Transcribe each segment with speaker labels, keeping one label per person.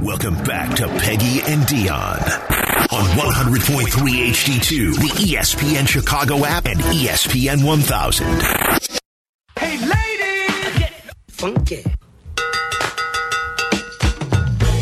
Speaker 1: Welcome back to Peggy and Dion on 100.3 HD2, the E ESPN Chicago app, and E ESPN 1000.
Speaker 2: Hey, ladies! Get funky.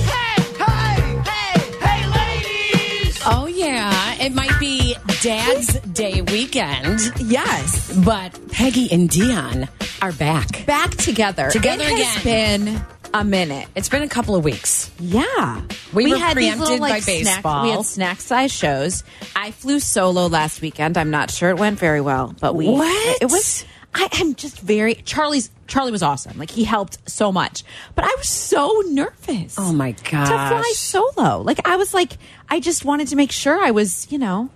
Speaker 2: Hey, hey, hey, hey, ladies!
Speaker 3: Oh, yeah. It might be Dad's Day weekend,
Speaker 4: Yes.
Speaker 3: but Peggy and Dion are back.
Speaker 4: Back together.
Speaker 3: Together
Speaker 4: it has
Speaker 3: again.
Speaker 4: been a minute.
Speaker 3: It's been a couple of weeks.
Speaker 4: Yeah.
Speaker 3: We were
Speaker 4: these
Speaker 3: preempted by baseball.
Speaker 4: Snack, we had snack size shows. I flew solo last weekend. I'm not sure it went very well, but we
Speaker 3: What?
Speaker 4: it was I am just very Charlie's Charlie was awesome. Like he helped so much. But I was so nervous.
Speaker 3: Oh, my
Speaker 4: To fly
Speaker 3: gosh.
Speaker 4: solo. Like I was like I just wanted to make sure I was, you know.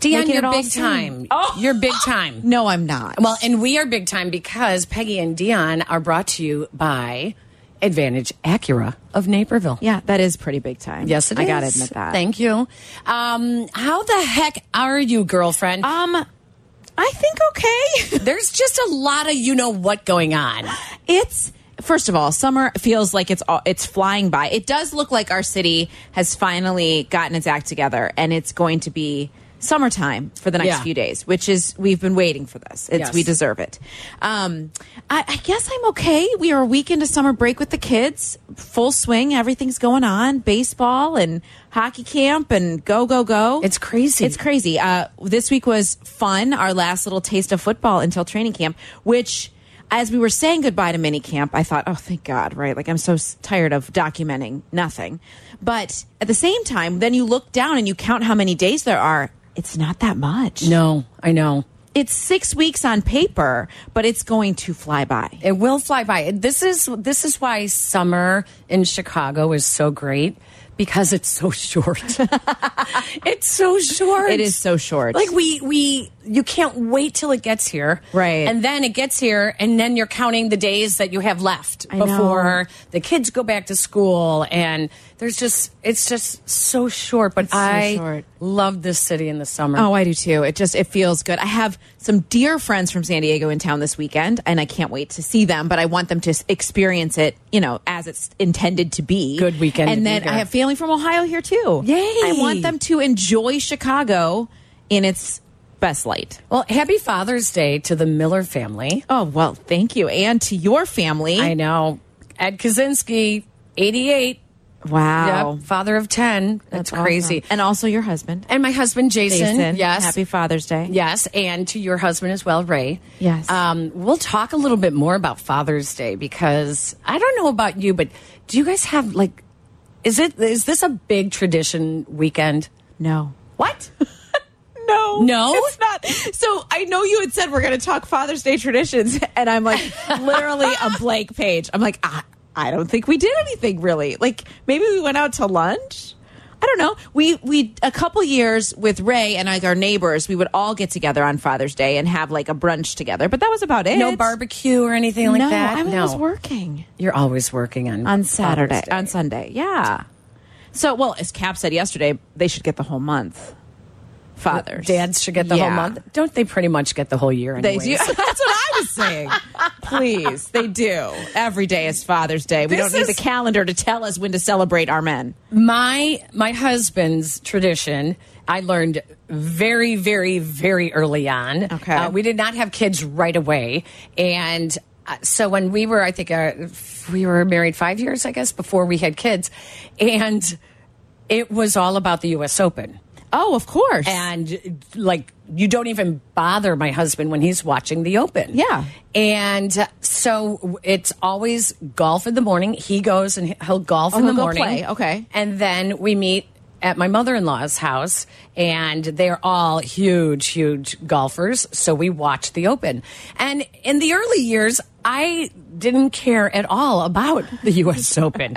Speaker 3: Dion,
Speaker 4: making
Speaker 3: you're
Speaker 4: it all
Speaker 3: big
Speaker 4: seem-
Speaker 3: time.
Speaker 4: Oh.
Speaker 3: You're big time.
Speaker 4: No, I'm not.
Speaker 3: Well, and we are big time because Peggy and Dion are brought to you by Advantage Acura of Naperville.
Speaker 4: yeah, that is pretty big time.
Speaker 3: Yes, it
Speaker 4: I gotta
Speaker 3: is.
Speaker 4: admit that.
Speaker 3: Thank you. Um, how the heck are you, girlfriend?
Speaker 4: Um I think okay.
Speaker 3: There's just a lot of you know what going on.
Speaker 4: It's first of all, summer feels like it's all, it's flying by. It does look like our city has finally gotten its act together, and it's going to be summertime for the next
Speaker 3: Yeah.
Speaker 4: few days, which is we've been waiting for this. It's we
Speaker 3: Yes.
Speaker 4: deserve it. Um, I, I guess I'm okay. We are a week into summer break with the kids, full swing. Everything's going on: baseball and hockey camp, and go go go.
Speaker 3: It's crazy.
Speaker 4: It's crazy. Uh, this week was fun. Our last little taste of football until training camp, which, as we were saying goodbye to mini camp, I thought, oh, thank God, right? Like, I'm so s- tired of documenting nothing. But at the same time, then you look down and you count how many days there are. It's not that much.
Speaker 3: No, I know.
Speaker 4: It's six weeks on paper, but it's going to fly by.
Speaker 3: It will fly by. This is this is why summer in Chicago is so great because it's so short. it's so short.
Speaker 4: It is so short.
Speaker 3: Like we we you can't wait till it gets here.
Speaker 4: Right.
Speaker 3: And then it gets here and then you're counting the days that you have left
Speaker 4: I know.
Speaker 3: before the kids go back to school and there's just it's just so short but
Speaker 4: so
Speaker 3: I
Speaker 4: short.
Speaker 3: love this city in the summer.
Speaker 4: Oh, I do too. It just it feels good. I have some dear friends from San Diego in town this weekend, and I can't wait to see them. But I want them to s- experience it, you know, as it's intended to be.
Speaker 3: Good weekend to
Speaker 4: And
Speaker 3: be
Speaker 4: then
Speaker 3: here.
Speaker 4: I have family from Ohio here too.
Speaker 3: Yay.
Speaker 4: I want them to enjoy Chicago in its best light.
Speaker 3: Well, happy Father's Day to the Miller family.
Speaker 4: Oh well, thank you, and to your family.
Speaker 3: I know. Ed Kaczynski, 88.
Speaker 4: wow,
Speaker 3: Yep, father of 10. That's,
Speaker 4: awesome.
Speaker 3: crazy.
Speaker 4: And also your husband,
Speaker 3: And my husband, Jason.
Speaker 4: Jason.
Speaker 3: Yes.
Speaker 4: Happy Father's Day.
Speaker 3: Yes. And to your husband as well, Ray.
Speaker 4: Yes.
Speaker 3: Um, we'll talk a little bit more about Father's Day because I don't know about you, but do you guys have like, is it, is this a big tradition weekend?
Speaker 4: No.
Speaker 3: What?
Speaker 4: No.
Speaker 3: No?
Speaker 4: It's not. So I know you had said we're going to talk Father's Day traditions, and I'm like literally a blank page. I'm like, I, I don't think we did anything really. Like maybe we went out to lunch. I don't know. We we a couple years with Ray and like our neighbors, we would all get together on Father's Day and have like a brunch together. But that was about it.
Speaker 3: no barbecue or anything like
Speaker 4: no,
Speaker 3: that?
Speaker 4: I was always working
Speaker 3: You're always working on
Speaker 4: on
Speaker 3: Father's
Speaker 4: Saturday,
Speaker 3: Day.
Speaker 4: on Sunday. Yeah. So well, as Cap said yesterday, they should get the whole month. Fathers,
Speaker 3: Dads should get the whole
Speaker 4: Yeah.
Speaker 3: month. Don't they pretty much get the whole year?
Speaker 4: They
Speaker 3: Anyways?
Speaker 4: do. That's what I was saying. Please, they do. Every day is Father's Day. We
Speaker 3: This
Speaker 4: don't need
Speaker 3: is-
Speaker 4: the calendar to tell us when to celebrate our men.
Speaker 3: my my husband's tradition i learned very very very early on
Speaker 4: Okay.
Speaker 3: Uh, we did not have kids right away and uh, so when we were i think uh, we were married five years i guess before we had kids and it was all about the us open
Speaker 4: Oh, of course.
Speaker 3: and like you don't even bother my husband when he's watching the open
Speaker 4: Yeah.
Speaker 3: and uh, so it's always golf in the morning he goes and he'll golf in the
Speaker 4: Oh, he'll go
Speaker 3: morning
Speaker 4: play. Okay.
Speaker 3: and then we meet at my mother-in-law's house and they're all huge huge golfers so we watch the open and in the early years i didn't care at all about the us open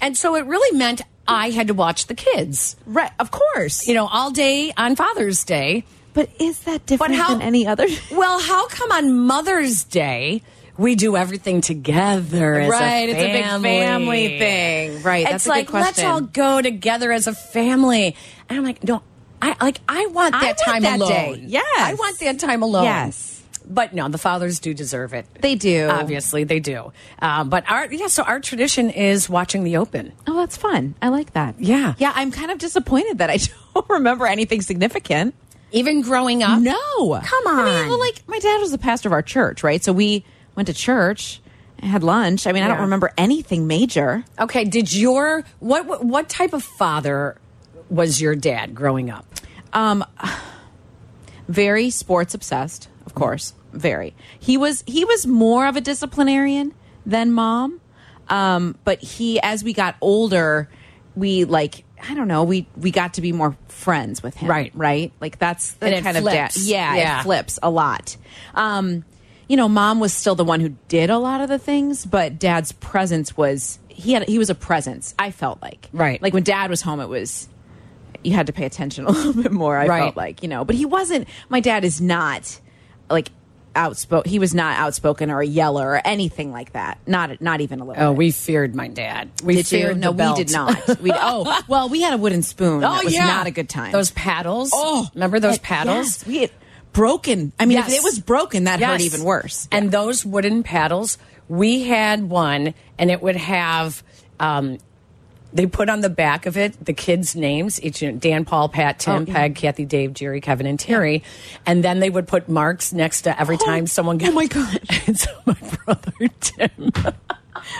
Speaker 3: and so it really meant i had to watch the kids
Speaker 4: right, of course.
Speaker 3: you know, all day on Father's Day.
Speaker 4: but is that
Speaker 3: But
Speaker 4: different
Speaker 3: how
Speaker 4: than any other?
Speaker 3: Well, how come on Mother's Day we do everything together as
Speaker 4: Right,
Speaker 3: a
Speaker 4: it's a big family thing. Right,
Speaker 3: it's
Speaker 4: that's a good
Speaker 3: like let's
Speaker 4: question.
Speaker 3: all go together as a family. And I'm like, no, I like I want
Speaker 4: I
Speaker 3: that
Speaker 4: want
Speaker 3: time
Speaker 4: that
Speaker 3: alone.
Speaker 4: day. Yes.
Speaker 3: I want that time alone.
Speaker 4: Yes.
Speaker 3: But no, the fathers do deserve it.
Speaker 4: They do.
Speaker 3: Obviously, they do. Um, but our yeah, so our tradition is watching the Open.
Speaker 4: Oh, that's fun. I like that.
Speaker 3: Yeah.
Speaker 4: Yeah, I'm kind of disappointed that I don't remember anything significant.
Speaker 3: Even growing up,
Speaker 4: No.
Speaker 3: Come
Speaker 4: I mean,
Speaker 3: on.
Speaker 4: well, like, my dad was the pastor of our church, right? So we went to church and had lunch. I mean, I
Speaker 3: Yeah.
Speaker 4: don't remember anything major.
Speaker 3: Okay, did your what what- what type of father was your dad growing up?
Speaker 4: very sports obsessed, of course, very. He was he was more of a disciplinarian than mom, um, but he as we got older, we like I don't know we we got to be more friends with him,
Speaker 3: Right.
Speaker 4: Right, like that's the
Speaker 3: And it
Speaker 4: kind of dad.
Speaker 3: flips.
Speaker 4: Yeah,
Speaker 3: Yeah.
Speaker 4: it flips a lot. Um, you know, mom was still the one who did a lot of the things, but dad's presence was he had he was a presence. I felt like
Speaker 3: Right.
Speaker 4: like when dad was home, it was you had to pay attention a little bit more. I
Speaker 3: Right.
Speaker 4: felt like, you know, but he wasn't, my dad is not like outspoken. He was not outspoken or a yeller or anything like that. Not, not even a little.
Speaker 3: Oh,
Speaker 4: bit.
Speaker 3: we feared my dad. We
Speaker 4: Did you?
Speaker 3: feared
Speaker 4: No,
Speaker 3: the belt.
Speaker 4: we did not. We, oh, well, we had a wooden spoon.
Speaker 3: Oh,
Speaker 4: that was
Speaker 3: yeah.
Speaker 4: not a good time.
Speaker 3: Those paddles.
Speaker 4: oh,
Speaker 3: remember those
Speaker 4: that-
Speaker 3: paddles?
Speaker 4: yes, we had broken. I mean,
Speaker 3: Yes.
Speaker 4: if it was broken, that
Speaker 3: Yes.
Speaker 4: hurt even worse.
Speaker 3: And those wooden paddles, we had one, and it would have. Um, they put on the back of it the kids' names, each you know, Dan, Paul, Pat, Tim,
Speaker 4: Oh, yeah.
Speaker 3: Peg, Kathy, Dave, Jerry, Kevin, and Terry, and then they would put marks next to every time someone. Got,
Speaker 4: oh my gosh.
Speaker 3: And so my brother Tim.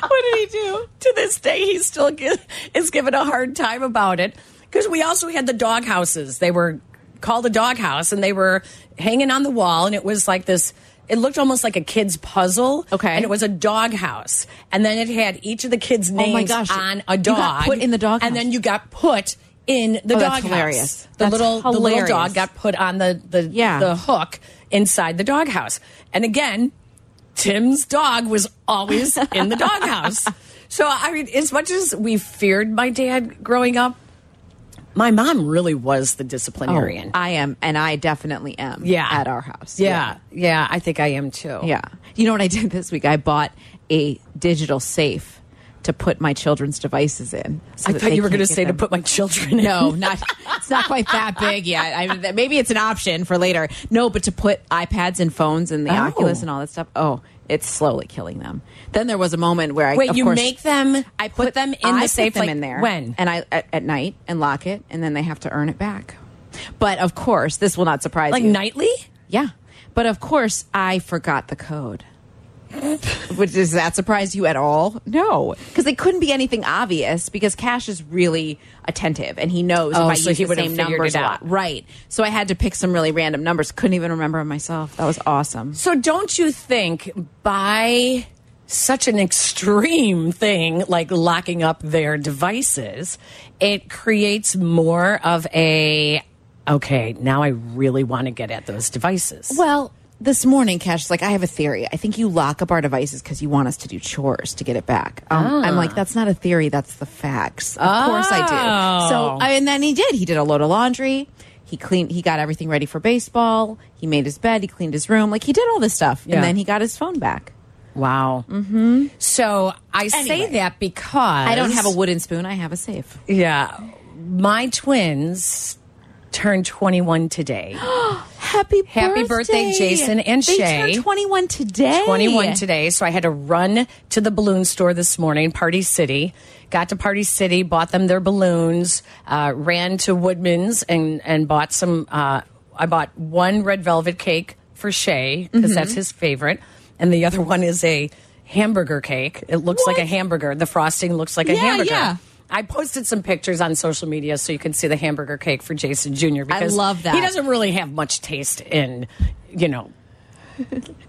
Speaker 4: what did he do?
Speaker 3: to this day he still gi- is given a hard time about it because we also had the dog houses they were called a dog house and they were hanging on the wall and it was like this it looked almost like a kid's puzzle
Speaker 4: Okay.
Speaker 3: and it was a dog house and then it had each of the kids
Speaker 4: Oh my
Speaker 3: names
Speaker 4: gosh.
Speaker 3: on a
Speaker 4: You
Speaker 3: dog
Speaker 4: got put in the dog
Speaker 3: and
Speaker 4: house.
Speaker 3: then you got put in the dog
Speaker 4: Oh, that's
Speaker 3: house.
Speaker 4: hilarious.
Speaker 3: the
Speaker 4: That's
Speaker 3: little the little
Speaker 4: hilarious.
Speaker 3: dog got put on the the,
Speaker 4: Yeah.
Speaker 3: the hook inside the dog house and again Tim's dog was always in the doghouse. So, I mean, as much as we feared my dad growing up, my mom really was the disciplinarian.
Speaker 4: Oh, I am. And I definitely am
Speaker 3: yeah.
Speaker 4: at our house.
Speaker 3: Yeah. yeah. I think I am too.
Speaker 4: Yeah. You know what I did this week? I bought a digital safe to put my children's devices in. so
Speaker 3: I
Speaker 4: that
Speaker 3: thought
Speaker 4: they
Speaker 3: you were
Speaker 4: can't
Speaker 3: going to
Speaker 4: get
Speaker 3: say to
Speaker 4: them.
Speaker 3: put my children in.
Speaker 4: No, not. It's not quite that big yet. I mean, that- maybe it's an option for later. No, but to put iPads and phones and the
Speaker 3: Oh.
Speaker 4: Oculus and all that stuff. Oh, it's slowly killing them. Then there was a moment where I
Speaker 3: Wait,
Speaker 4: of
Speaker 3: you
Speaker 4: course-
Speaker 3: make them-
Speaker 4: I
Speaker 3: put
Speaker 4: put,
Speaker 3: them in
Speaker 4: I
Speaker 3: the
Speaker 4: put
Speaker 3: safe,
Speaker 4: them
Speaker 3: like,
Speaker 4: in there
Speaker 3: when?
Speaker 4: and I at, at night and lock it, and then they have to earn it back. But of course, this will not surprise
Speaker 3: Like
Speaker 4: you.
Speaker 3: nightly?
Speaker 4: Yeah. But of course, I forgot the code. Which does that surprise you at all? No, because it couldn't be anything obvious. Because Cash is really attentive, and he knows
Speaker 3: Oh,
Speaker 4: if I
Speaker 3: so
Speaker 4: use
Speaker 3: he
Speaker 4: the
Speaker 3: would've
Speaker 4: same
Speaker 3: figured
Speaker 4: numbers
Speaker 3: it
Speaker 4: a
Speaker 3: out.
Speaker 4: lot, right? So I had to pick some really random numbers. Couldn't even remember 'em myself. That was awesome.
Speaker 3: So, don't you think by such an extreme thing like locking up their devices, it creates more of a, okay, now I really want to get at those devices?
Speaker 4: Well, this morning, Cash is like, I have a theory. I think you lock up our devices because you want us to do chores to get it back. Um, I'm like, that's not a theory. That's the facts. Of course I do. So, I, and then he did. He did a load of laundry. He cleaned. He got everything ready for baseball. He made his bed. He cleaned his room. Like he did all this stuff,
Speaker 3: Yeah.
Speaker 4: and then he got his phone back.
Speaker 3: Wow. Mm-hmm. So I say
Speaker 4: Anyway.
Speaker 3: that because
Speaker 4: I don't have a wooden spoon. I have a safe.
Speaker 3: Yeah, my twins turned 21 today.
Speaker 4: Happy
Speaker 3: Happy birthday, Jason and
Speaker 4: they
Speaker 3: Shay.
Speaker 4: turned 21 today.
Speaker 3: 21 today, so I had to run to the balloon store this morning, Party City. Got to Party City, bought them their balloons, uh, ran to Woodman's and and bought some. Uh, I bought one red velvet cake for Shay because
Speaker 4: Mm-hmm.
Speaker 3: that's his favorite, and the other one is a hamburger cake. It looks like a hamburger. The frosting looks like a
Speaker 4: Yeah,
Speaker 3: hamburger.
Speaker 4: yeah.
Speaker 3: I posted some pictures on social media so you can see the hamburger cake for Jason Jr. Because
Speaker 4: love that.
Speaker 3: He doesn't really have much taste in, you know,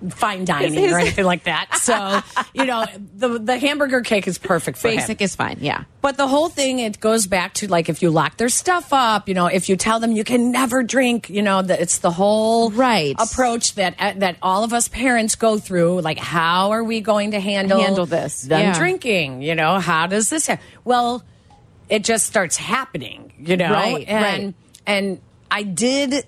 Speaker 3: fine dining or anything like that. So, you know, the the hamburger cake is perfect for him.
Speaker 4: Basic is fine. Yeah.
Speaker 3: But the whole thing it goes back to like if you lock their stuff up, you know, if you tell them you can never drink, you know, that it's the whole
Speaker 4: Right.
Speaker 3: approach that uh, that all of us parents go through. Like, how are we going to handle
Speaker 4: Handle this.
Speaker 3: Them
Speaker 4: Yeah.
Speaker 3: drinking, you know, how does this? Ha well, it just starts happening, you know,
Speaker 4: Right,
Speaker 3: and
Speaker 4: right.
Speaker 3: and I did.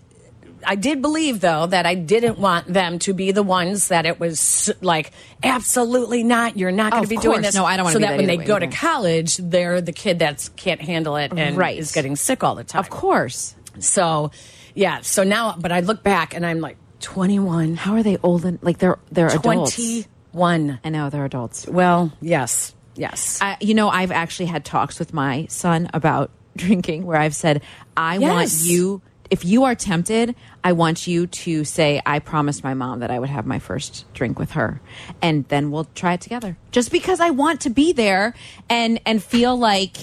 Speaker 3: I did believe though that I didn't want them to be the ones that it was like absolutely not. You're not going to
Speaker 4: Oh, Of
Speaker 3: be doing
Speaker 4: course.
Speaker 3: this.
Speaker 4: No, I don't wanna
Speaker 3: So
Speaker 4: be
Speaker 3: that
Speaker 4: that
Speaker 3: when they
Speaker 4: either
Speaker 3: go
Speaker 4: way,
Speaker 3: to
Speaker 4: yeah.
Speaker 3: college, they're the kid that can't handle it and
Speaker 4: Right.
Speaker 3: is getting sick all the time.
Speaker 4: Of course.
Speaker 3: So, yeah. So now, but I look back and I'm like, 21.
Speaker 4: How are they old and like they're they're adults?
Speaker 3: 21.
Speaker 4: I know they're adults.
Speaker 3: Well, yes. Yes.
Speaker 4: I, you know, I've actually had talks with my son about drinking where I've said, I want
Speaker 3: Yes.
Speaker 4: you, if you are tempted, I want you to say, I promised my mom that I would have my first drink with her. And then we'll try it together. Just because I want to be there and, and feel like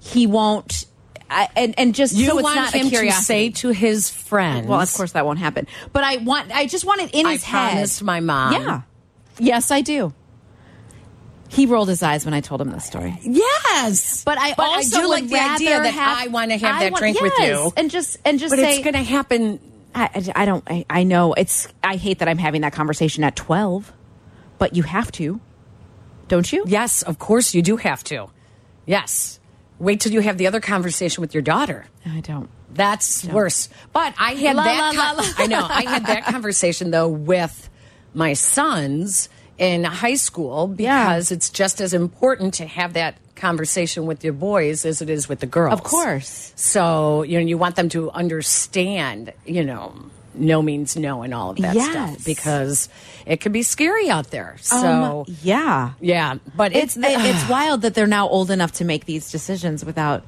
Speaker 4: he won't. I, and, and just
Speaker 3: you
Speaker 4: so it's
Speaker 3: want
Speaker 4: not
Speaker 3: him
Speaker 4: a curiosity.
Speaker 3: to say to his friends.
Speaker 4: well, of course that won't happen. But I want, I just want it in
Speaker 3: I
Speaker 4: his head.
Speaker 3: promised my mom.
Speaker 4: Yeah. Yes, I do. He rolled his eyes when I told him this story.
Speaker 3: Yes.
Speaker 4: But I
Speaker 3: But I
Speaker 4: also
Speaker 3: do
Speaker 4: would
Speaker 3: like the idea
Speaker 4: rather
Speaker 3: that
Speaker 4: have,
Speaker 3: I wanna have
Speaker 4: I
Speaker 3: that
Speaker 4: want-
Speaker 3: drink with
Speaker 4: yes,
Speaker 3: you.
Speaker 4: and just and just
Speaker 3: But
Speaker 4: say
Speaker 3: it's going to happen.
Speaker 4: I, I- I don't I, I know it's I hate that I'm having that conversation at twelve, but you have to, don't you?
Speaker 3: Yes, of course you do have to. Yes. Wait till you have the other conversation with your daughter.
Speaker 4: I don't.
Speaker 3: That's worse. But I had
Speaker 4: La,
Speaker 3: that.
Speaker 4: la,
Speaker 3: con-
Speaker 4: la, la.
Speaker 3: I know. I had that conversation though with my sons in high school because it's just as important to have that conversation with your boys as it is with the girls.
Speaker 4: Of course.
Speaker 3: So you know you want them to understand. You know. No means no, and all of that
Speaker 4: Yes.
Speaker 3: stuff because it can be scary out there. So,
Speaker 4: Um, yeah,
Speaker 3: yeah, but
Speaker 4: it's
Speaker 3: it's,
Speaker 4: it, it's wild that they're now old enough to make these decisions without,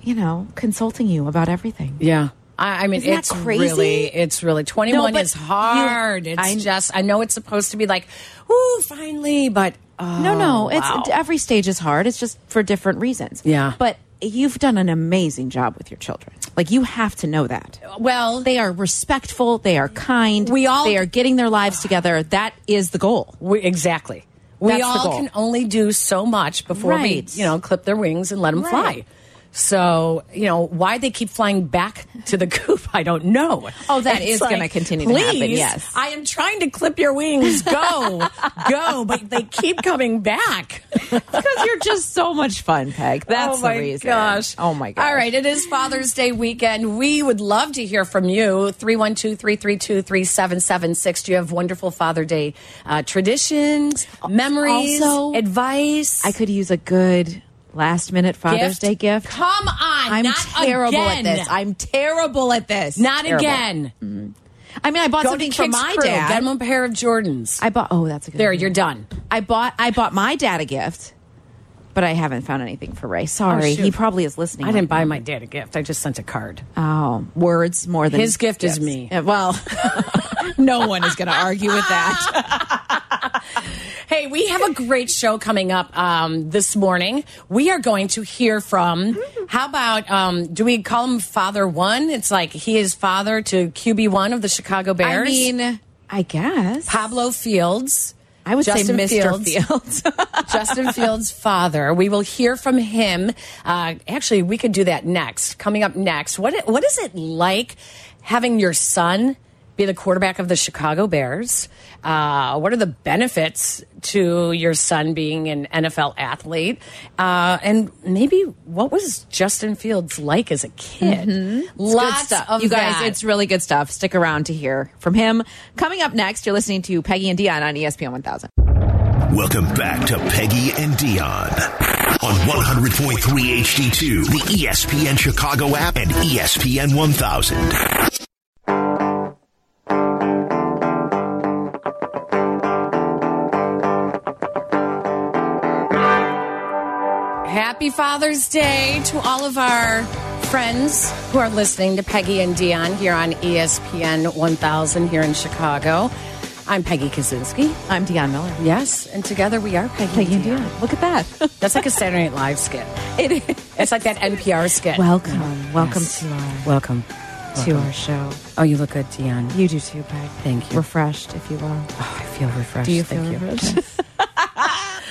Speaker 4: you know, consulting you about everything.
Speaker 3: Yeah. I, I mean,
Speaker 4: Isn't that
Speaker 3: it's
Speaker 4: crazy?
Speaker 3: really, it's really 21
Speaker 4: No, but
Speaker 3: is hard.
Speaker 4: you-
Speaker 3: it's
Speaker 4: I-
Speaker 3: just, I know it's supposed to be like, ooh, finally, but oh,
Speaker 4: No, no. It's
Speaker 3: wow.
Speaker 4: every stage is hard. It's just for different reasons.
Speaker 3: Yeah.
Speaker 4: But you've done an amazing job with your children. Like you have to know that.
Speaker 3: well,
Speaker 4: They are respectful. They are kind.
Speaker 3: We all-
Speaker 4: they are getting their lives together. That is the goal.
Speaker 3: we, exactly. We
Speaker 4: That's the
Speaker 3: all
Speaker 4: goal.
Speaker 3: can only do so much before
Speaker 4: Right.
Speaker 3: we, you know, clip their wings and let them fly.
Speaker 4: Right.
Speaker 3: So, you know, why they keep flying back to the coop, I don't know.
Speaker 4: Oh, that
Speaker 3: It's
Speaker 4: is gonna continue to happen,
Speaker 3: "Please,
Speaker 4: yes."
Speaker 3: I am trying to clip your wings. Go, go, but they keep coming back.
Speaker 2: because you're just so much fun, Peg. That's
Speaker 3: oh
Speaker 2: the
Speaker 3: my
Speaker 2: reason.
Speaker 3: Gosh.
Speaker 2: Oh my gosh.
Speaker 3: All right, it is Father's Day weekend. We would love to hear from you. 312-332-3776. Do you have wonderful Father Day uh, traditions, memories,
Speaker 4: also,
Speaker 3: advice?
Speaker 4: I could use a good last minute Father's Day gift.
Speaker 3: Come on.
Speaker 4: I'm
Speaker 3: not
Speaker 4: terrible
Speaker 3: again.
Speaker 4: at this. I'm terrible at this.
Speaker 3: not
Speaker 4: Terrible.
Speaker 3: again.
Speaker 4: I mean, I bought
Speaker 3: Go
Speaker 4: something
Speaker 3: to
Speaker 4: for
Speaker 3: Kicks
Speaker 4: my
Speaker 3: Crew.
Speaker 4: dad.
Speaker 3: Get him a pair of Jordans.
Speaker 4: I bought. Oh, that's a good.
Speaker 3: there,
Speaker 4: idea.
Speaker 3: you're done.
Speaker 4: I bought. I bought my dad a gift, but I haven't found anything for Ray. Sorry,
Speaker 3: Oh, shoot.
Speaker 4: he probably is listening.
Speaker 3: I
Speaker 4: right
Speaker 3: didn't buy my dad a gift. I just sent a card.
Speaker 4: Oh, words more than
Speaker 3: His gift is
Speaker 4: gifts.
Speaker 3: me.
Speaker 4: Uh, Well,
Speaker 2: No one is going to argue with that.
Speaker 3: Hey, we have a great show coming up um, this morning. We are going to hear from. How about um, do we call him Father One? It's like he is father to QB One of the Chicago
Speaker 4: I
Speaker 3: Bears.
Speaker 4: mean, I guess
Speaker 3: Pablo Fields.
Speaker 4: I would
Speaker 3: Justin
Speaker 4: say Mr.
Speaker 3: Fields.
Speaker 4: Fields.
Speaker 3: Justin Fields' father. We will hear from him. Uh, actually, we could do that next. Coming up next, what i- what is it like having your son be the quarterback of the Chicago Bears? Uh, what are the benefits to your son being an NFL athlete? Uh, and maybe what was Justin Fields like as a kid?
Speaker 4: Mm-hmm.
Speaker 3: Lots of
Speaker 4: you guys,
Speaker 3: that.
Speaker 4: it's really good stuff. Stick around to hear from him. Coming up next, you're listening to Peggy and Dion on E ESPN 1000.
Speaker 1: Welcome back to Peggy and Dion on 100.3 HD2, the E ESPN Chicago app and E ESPN 1000.
Speaker 3: Happy Father's Day to all of our friends who are listening to Peggy and Dion here on E ESPN 1000 here in Chicago. I'm Peggy Kaczynski.
Speaker 4: I'm Dion Miller.
Speaker 3: Yes, and together we are Peggy,
Speaker 4: Peggy and
Speaker 3: and Dion.
Speaker 4: Dion. Look at that.
Speaker 3: That's like a Saturday Night Live skit.
Speaker 4: it is.
Speaker 3: It's like that NPR skit.
Speaker 4: Welcome, welcome
Speaker 3: Yes.
Speaker 4: to our
Speaker 3: Welcome.
Speaker 4: to our show.
Speaker 3: Oh, you look good, Dion.
Speaker 4: You do too, Peg.
Speaker 3: Thank you.
Speaker 4: Refreshed, if you will.
Speaker 3: Oh, I feel refreshed.
Speaker 4: Do you
Speaker 3: Thank
Speaker 4: feel
Speaker 3: you.
Speaker 4: refreshed?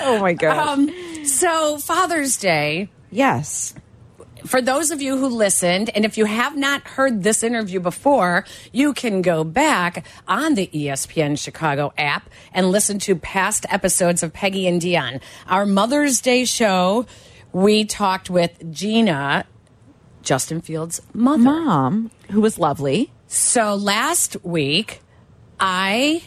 Speaker 2: Oh my gosh.
Speaker 3: Um, so Father's Day.
Speaker 4: yes.
Speaker 3: for those of you who listened, and if you have not heard this interview before, you can go back on the E ESPN Chicago app and listen to past episodes of Peggy and Dion. Our Mother's Day show, we talked with Gina, Justin Fields' mother.
Speaker 4: Mom, who was lovely.
Speaker 3: So last week, I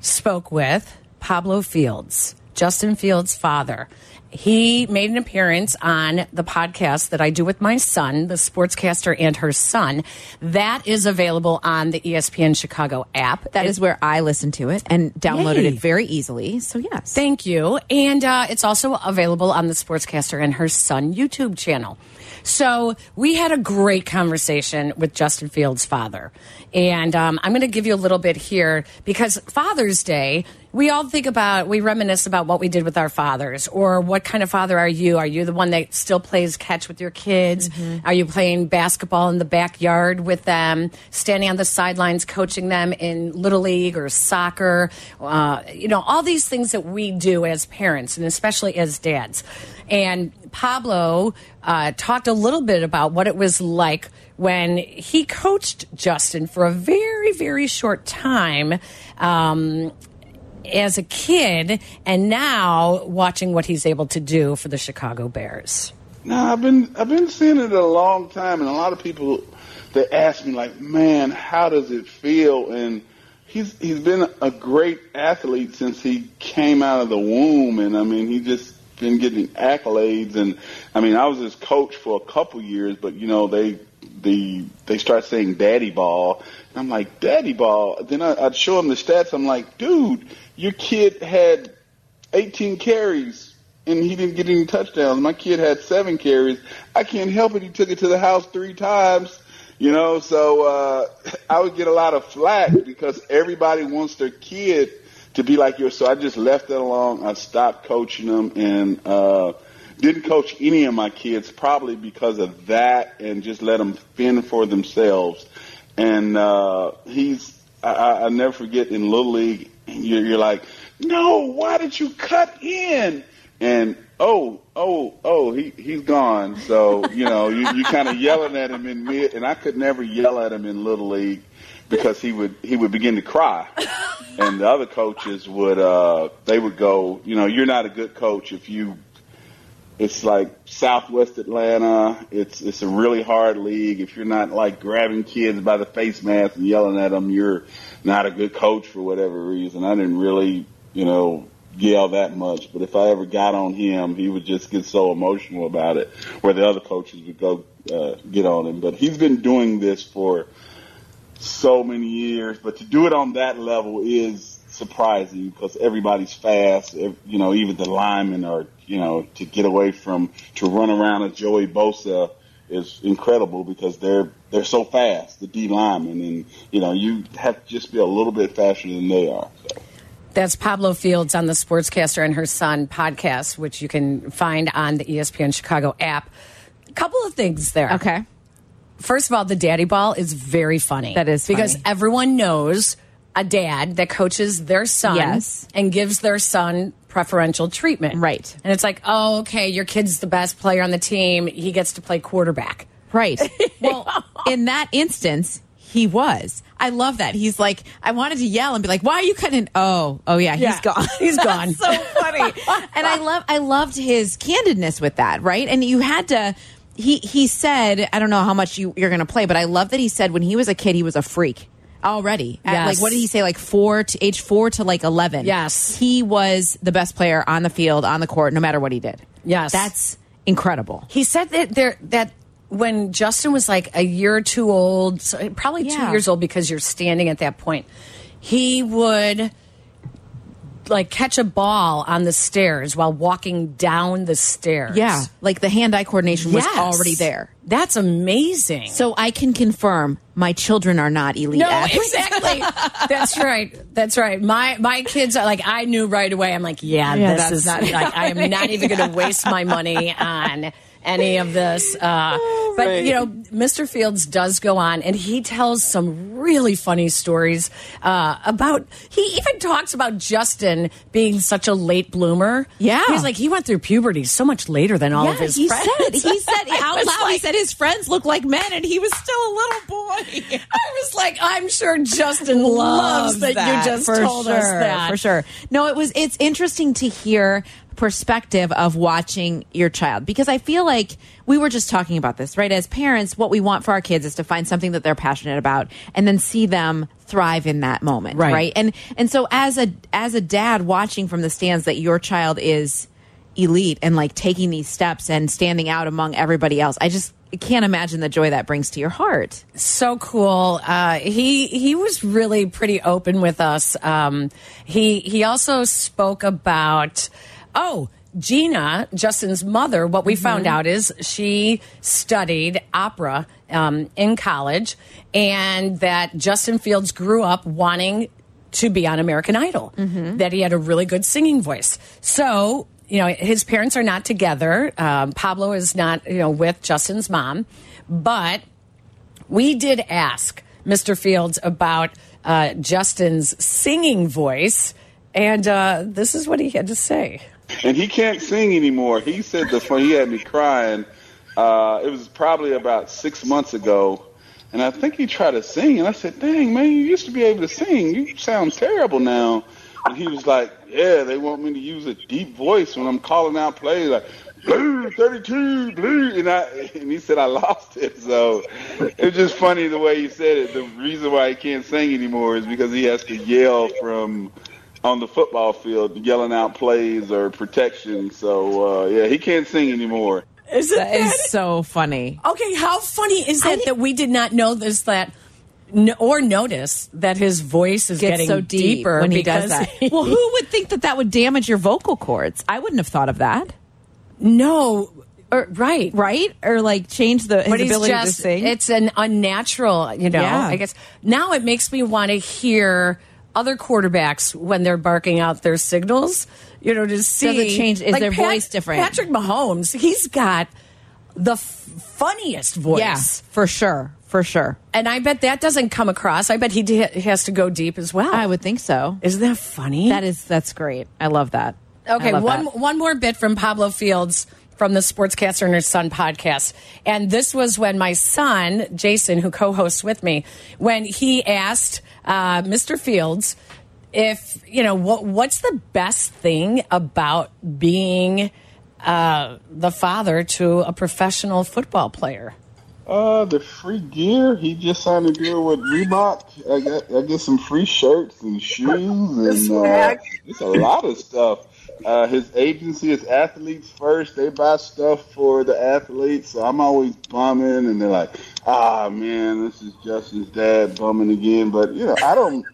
Speaker 3: spoke with Pablo Fields, Justin Fields' father, He made an appearance on the podcast that I do with my son, the sportscaster and her son. That is available on the E ESPN Chicago app.
Speaker 4: That
Speaker 3: It-
Speaker 4: is where I listened to it and downloaded
Speaker 3: Yay.
Speaker 4: it very easily. So yes,
Speaker 3: Thank you. And uh, it's also available on the Sportscaster and her son YouTube channel. So we had a great conversation with Justin Fields' father. And um, I'm going to give you a little bit here because Father's Day, we all think about, we reminisce about what we did with our fathers or what kind of father are you? Are you the one that still plays catch with your kids? Are you playing basketball in the backyard with them, standing on the sidelines coaching them in Little League or soccer? Uh, you know, all these things that we do as parents and especially as dads. And Pablo uh, talked a little bit about what it was like when he coached Justin for a very, very short time. Um, as a kid, and now watching what he's able to do for the Chicago Bears.
Speaker 5: Now I've been I've been seeing it a long time, and a lot of people they ask me like, "Man, how does it feel?" And he's he's been a great athlete since he came out of the womb, and I mean he just been getting accolades, and I mean I was his coach for a couple years, but you know they the they start saying daddy ball and I'm like daddy ball then I, I'd show him the stats I'm like dude your kid had 18 carries and he didn't get any touchdowns. My kid had seven carries. I can't help it. He took it to the house three times. You know, so uh, I would get a lot of flack because everybody wants their kid to be like yours. So I just left that alone. I stopped coaching them and uh, didn't coach any of my kids, probably because of that, and just let them fend for themselves. And uh, he's I, I, I never forget in little league, you're, you're like, no, why did you cut in? And oh, oh, oh, he he's gone. So you know, you you kind of yelling at him in mid, and I could never yell at him in little league because he would he would begin to cry, and the other coaches would uh they would go, you know, you're not a good coach if you it's like Southwest Atlanta. It's it's a really hard league. If you're not like grabbing kids by the face mask and yelling at them, you're not a good coach for whatever reason. I didn't really, you know, yell that much. But if I ever got on him, he would just get so emotional about it, where the other coaches would go uh, get on him. But he's been doing this for so many years, but to do it on that level is surprising because everybody's fast. Ev- You know, even the linemen are, you know, to get away from to run around a Joey Bosa is incredible because they're they're so fast. The D linemen, and you know, you have to just be a little bit faster than they are. So.
Speaker 3: That's Pablo Fields on the Sportscaster and her son podcast, which you can find on the E ESPN Chicago app. A couple of things there.
Speaker 4: okay.
Speaker 3: First of all, the daddy ball is very funny.
Speaker 4: That is
Speaker 3: because
Speaker 4: funny.
Speaker 3: everyone knows a dad that coaches their son
Speaker 4: Yes.
Speaker 3: and gives their son preferential treatment.
Speaker 4: Right.
Speaker 3: And it's like, oh, okay, your kid's the best player on the team. He gets to play quarterback.
Speaker 4: Right. Well, in that instance, he was. I love that. He's like, I wanted to yell and be like, "Why are you cutting?" Oh, oh yeah,
Speaker 3: Yeah.
Speaker 4: he's gone.
Speaker 3: He's gone.
Speaker 4: That's so funny. and I love, I loved his candidness with that. Right. And you had to. He he said, I don't know how much you, you're going to play, but I love that he said when he was a kid he was a freak already. At,
Speaker 3: Yes.
Speaker 4: Like what did he say? Like four to age four to like eleven.
Speaker 3: Yes.
Speaker 4: He was the best player on the field, on the court, no matter what he did.
Speaker 3: Yes.
Speaker 4: That's incredible.
Speaker 3: He said that there that when Justin was like a year or two old, so probably two
Speaker 4: Yeah.
Speaker 3: years old because you're standing at that point, he would like catch a ball on the stairs while walking down the stairs.
Speaker 4: Yeah, like the hand-eye coordination was
Speaker 3: Yes.
Speaker 4: already there.
Speaker 3: That's amazing.
Speaker 4: So I can confirm my children are not elite
Speaker 3: no,
Speaker 4: athletes.
Speaker 3: exactly. That's right. That's right. My my kids are like I knew right away. I'm like, yeah,
Speaker 4: Yeah,
Speaker 3: this
Speaker 4: that's
Speaker 3: is
Speaker 4: not
Speaker 3: like I am not even going to waste my money on any of this. Uh,
Speaker 4: Oh,
Speaker 3: but you know, Mr. Fields does go on, and he tells some really funny stories uh, about. He even talks about Justin being such a late bloomer.
Speaker 4: Yeah.
Speaker 3: he's like he went through puberty so much later than all
Speaker 4: Yeah,
Speaker 3: of his
Speaker 4: he
Speaker 3: friends.
Speaker 4: said he said out
Speaker 2: was
Speaker 4: loud. he
Speaker 2: like-
Speaker 4: said his friends look like men, and he was still a little boy.
Speaker 3: I was like, I'm sure Justin loves, that, you just
Speaker 4: for
Speaker 3: told us
Speaker 4: sure,
Speaker 3: that
Speaker 4: for sure. No, it was. It's interesting to hear perspective of watching your child because I feel like we were just talking about this, right? As parents, what we want for our kids is to find something that they're passionate about and then see them thrive in that moment,
Speaker 3: Right.
Speaker 4: right? And and so as a as a dad watching from the stands that your child is elite and like taking these steps and standing out among everybody else. I just can't imagine the joy that brings to your heart.
Speaker 3: so cool. Uh, he he was really pretty open with us. Um, he he also spoke about oh Gina Justin's mother. What we found out is she studied opera um, in college, and that Justin Fields grew up wanting to be on American Idol. That he had a really good singing voice. So. You know, his parents are not together. Um, Pablo is not, you know, with Justin's mom, but we did ask Mr. Fields about uh, Justin's singing voice, and uh, this is what he had to say.
Speaker 5: and he can't sing anymore. He said the fun. He had me crying. Uh, it was probably about six months ago, and I think he tried to sing. And I said, "Dang man, you used to be able to sing. You sound terrible now." And he was like, "Yeah, they want me to use a deep voice when I'm calling out plays, like blue thirty-two blue." And I and he said I lost it. So it was just funny the way he said it. The reason why he can't sing anymore is because he has to yell from on the football field yelling out plays or protection. So uh, yeah, he can't sing anymore.
Speaker 2: That is so funny.
Speaker 3: Okay, how funny is that that we did not know this that n- or notice that his voice is
Speaker 4: Gets
Speaker 3: getting
Speaker 4: so deep
Speaker 3: deeper
Speaker 4: when he
Speaker 3: because
Speaker 4: does that.
Speaker 2: Well, who would think that that would damage your vocal cords? I wouldn't have thought of that,
Speaker 3: no, er, right,
Speaker 2: right? Or like change the his
Speaker 3: but he's
Speaker 2: ability
Speaker 3: just
Speaker 2: to sing.
Speaker 3: it's an unnatural you know
Speaker 2: Yeah.
Speaker 3: i guess now it makes me want to hear other quarterbacks when they're barking out their signals you know to see
Speaker 4: it change- is their voice different?
Speaker 3: patrick mahomes he's got the f funniest voice
Speaker 2: yeah, for sure, for sure.
Speaker 3: and i bet that doesn't come across i bet he, d he has to go deep as well
Speaker 4: I would think so.
Speaker 3: isn't that funny
Speaker 4: That is that's great. I love that. I
Speaker 3: Okay,
Speaker 4: love
Speaker 3: one
Speaker 4: that.
Speaker 3: one more bit from Pablo Fields from the Sportscaster and Her Son podcast. And this was when my son, Jason, who co hosts with me, when he asked uh, Mr. Fields if, you know, what what's the best thing about being uh, the father to a professional football player?
Speaker 5: Uh, the free gear. He just signed a deal with Reebok. I got I get some free shirts and shoes and uh, it's a lot of stuff. Uh, his agency is athletes first. They buy stuff for the athletes. So I'm always bumming, and they're like, "Ah, man, this is Justin's dad bumming again." But you know, I don't.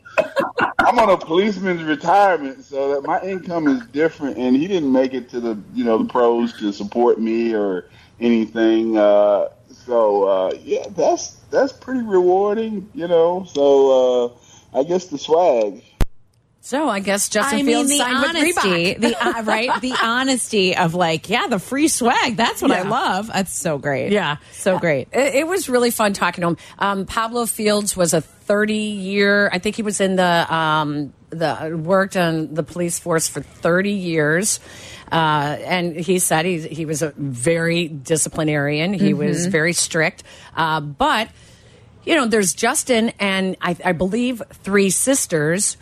Speaker 5: I'm on a policeman's retirement, so that my income is different. And he didn't make it to the you know the pros to support me or anything. Uh, so uh, yeah, that's that's pretty rewarding, you know. So uh, I guess the swag.
Speaker 3: So I guess Justin
Speaker 4: I mean
Speaker 3: Fields
Speaker 4: the
Speaker 3: signed
Speaker 4: honesty,
Speaker 3: with Reebok.
Speaker 4: the uh, right, the honesty
Speaker 2: Of like, yeah, the free swag. That's what I
Speaker 3: Yeah.
Speaker 2: love. That's so great.
Speaker 3: Yeah,
Speaker 2: so great.
Speaker 3: It, it was really fun talking to him. Um, Pablo Fields was a 30 year. I think he was in the um, the worked on the police force for 30 years, uh, and he said he he was a very disciplinarian. He was
Speaker 2: Mm-hmm.
Speaker 3: very strict, uh, but you know, there's Justin and I, I believe three sisters.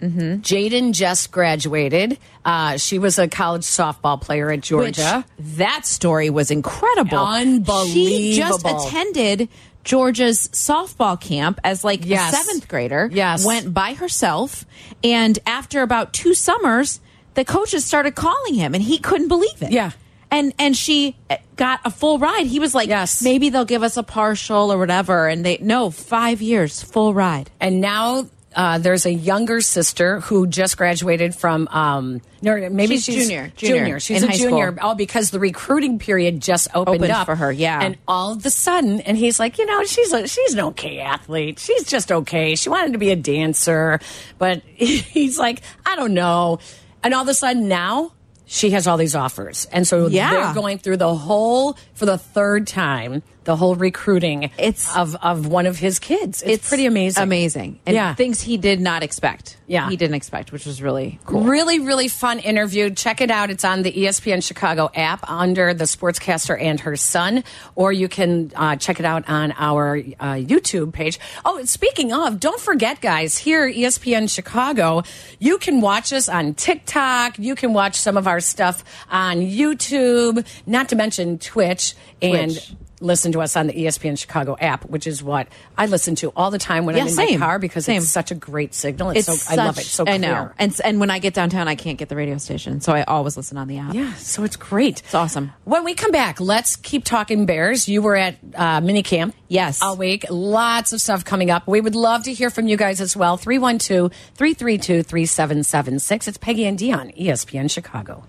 Speaker 2: Mm-hmm.
Speaker 3: Jaden just graduated. Uh, she was a college softball player at
Speaker 4: which
Speaker 3: Georgia.
Speaker 4: that story was incredible.
Speaker 3: Unbelievable.
Speaker 4: She just attended Georgia's softball camp as like
Speaker 3: Yes.
Speaker 4: a seventh grader.
Speaker 3: Yes.
Speaker 4: Went by herself. And after about two summers, the coaches started calling him and he couldn't believe it.
Speaker 3: Yeah.
Speaker 4: And and she eh, got a full ride. He was like,
Speaker 3: Yes.
Speaker 4: maybe they'll give us a partial or whatever. And they no, five years, full ride.
Speaker 3: and now uh, there's a younger sister who just graduated from um, no, maybe
Speaker 4: She's
Speaker 3: she's,
Speaker 4: junior, junior,
Speaker 3: She's
Speaker 4: in
Speaker 3: a
Speaker 4: high
Speaker 3: junior.
Speaker 4: school.
Speaker 3: Oh, because the recruiting period just opened,
Speaker 4: Opened
Speaker 3: up
Speaker 4: for her, yeah.
Speaker 3: And all of a sudden, and he's like, you know, she's a, she's an okay athlete. She's just okay. She wanted to be a dancer, but he's like, I don't know. And all of a sudden now. She has all these offers. And so
Speaker 4: Yeah.
Speaker 3: they're going through the whole, for the third time, the whole recruiting
Speaker 4: It's-
Speaker 3: of, of one of his kids. It's, pretty amazing.
Speaker 4: Amazing. And
Speaker 3: Yeah.
Speaker 4: things he did not expect.
Speaker 3: Yeah.
Speaker 4: He didn't expect, which was really cool.
Speaker 3: Really, really fun interview. Check it out. It's on the E ESPN Chicago app under the sportscaster and her son, or you can uh, check it out on our uh, YouTube page. Oh, and speaking of, don't forget, guys, here E at ESPN Chicago, you can watch us on TikTok. You can watch some of our stuff on YouTube, not to mention Twitch and
Speaker 4: Twitch.
Speaker 3: listen to us on the E ESPN Chicago app, which is what I listen to all the time when
Speaker 4: Yeah,
Speaker 3: I'm in
Speaker 4: same.
Speaker 3: my car because
Speaker 4: Same.
Speaker 3: it's such a great signal. It's, so I love it. So
Speaker 4: such- I know.
Speaker 3: clear.
Speaker 4: And s- and when I get downtown, I can't get the radio station, so I always listen on the app.
Speaker 3: Yeah, so it's great. It's
Speaker 4: awesome.
Speaker 3: When we come back, let's keep talking bears. You were at uh, mini camp.
Speaker 4: Yes.
Speaker 3: All week. Lots of stuff coming up. We would love to hear from you guys as well. 312 332 3776. It's Peggy and Dion, E ESPN Chicago.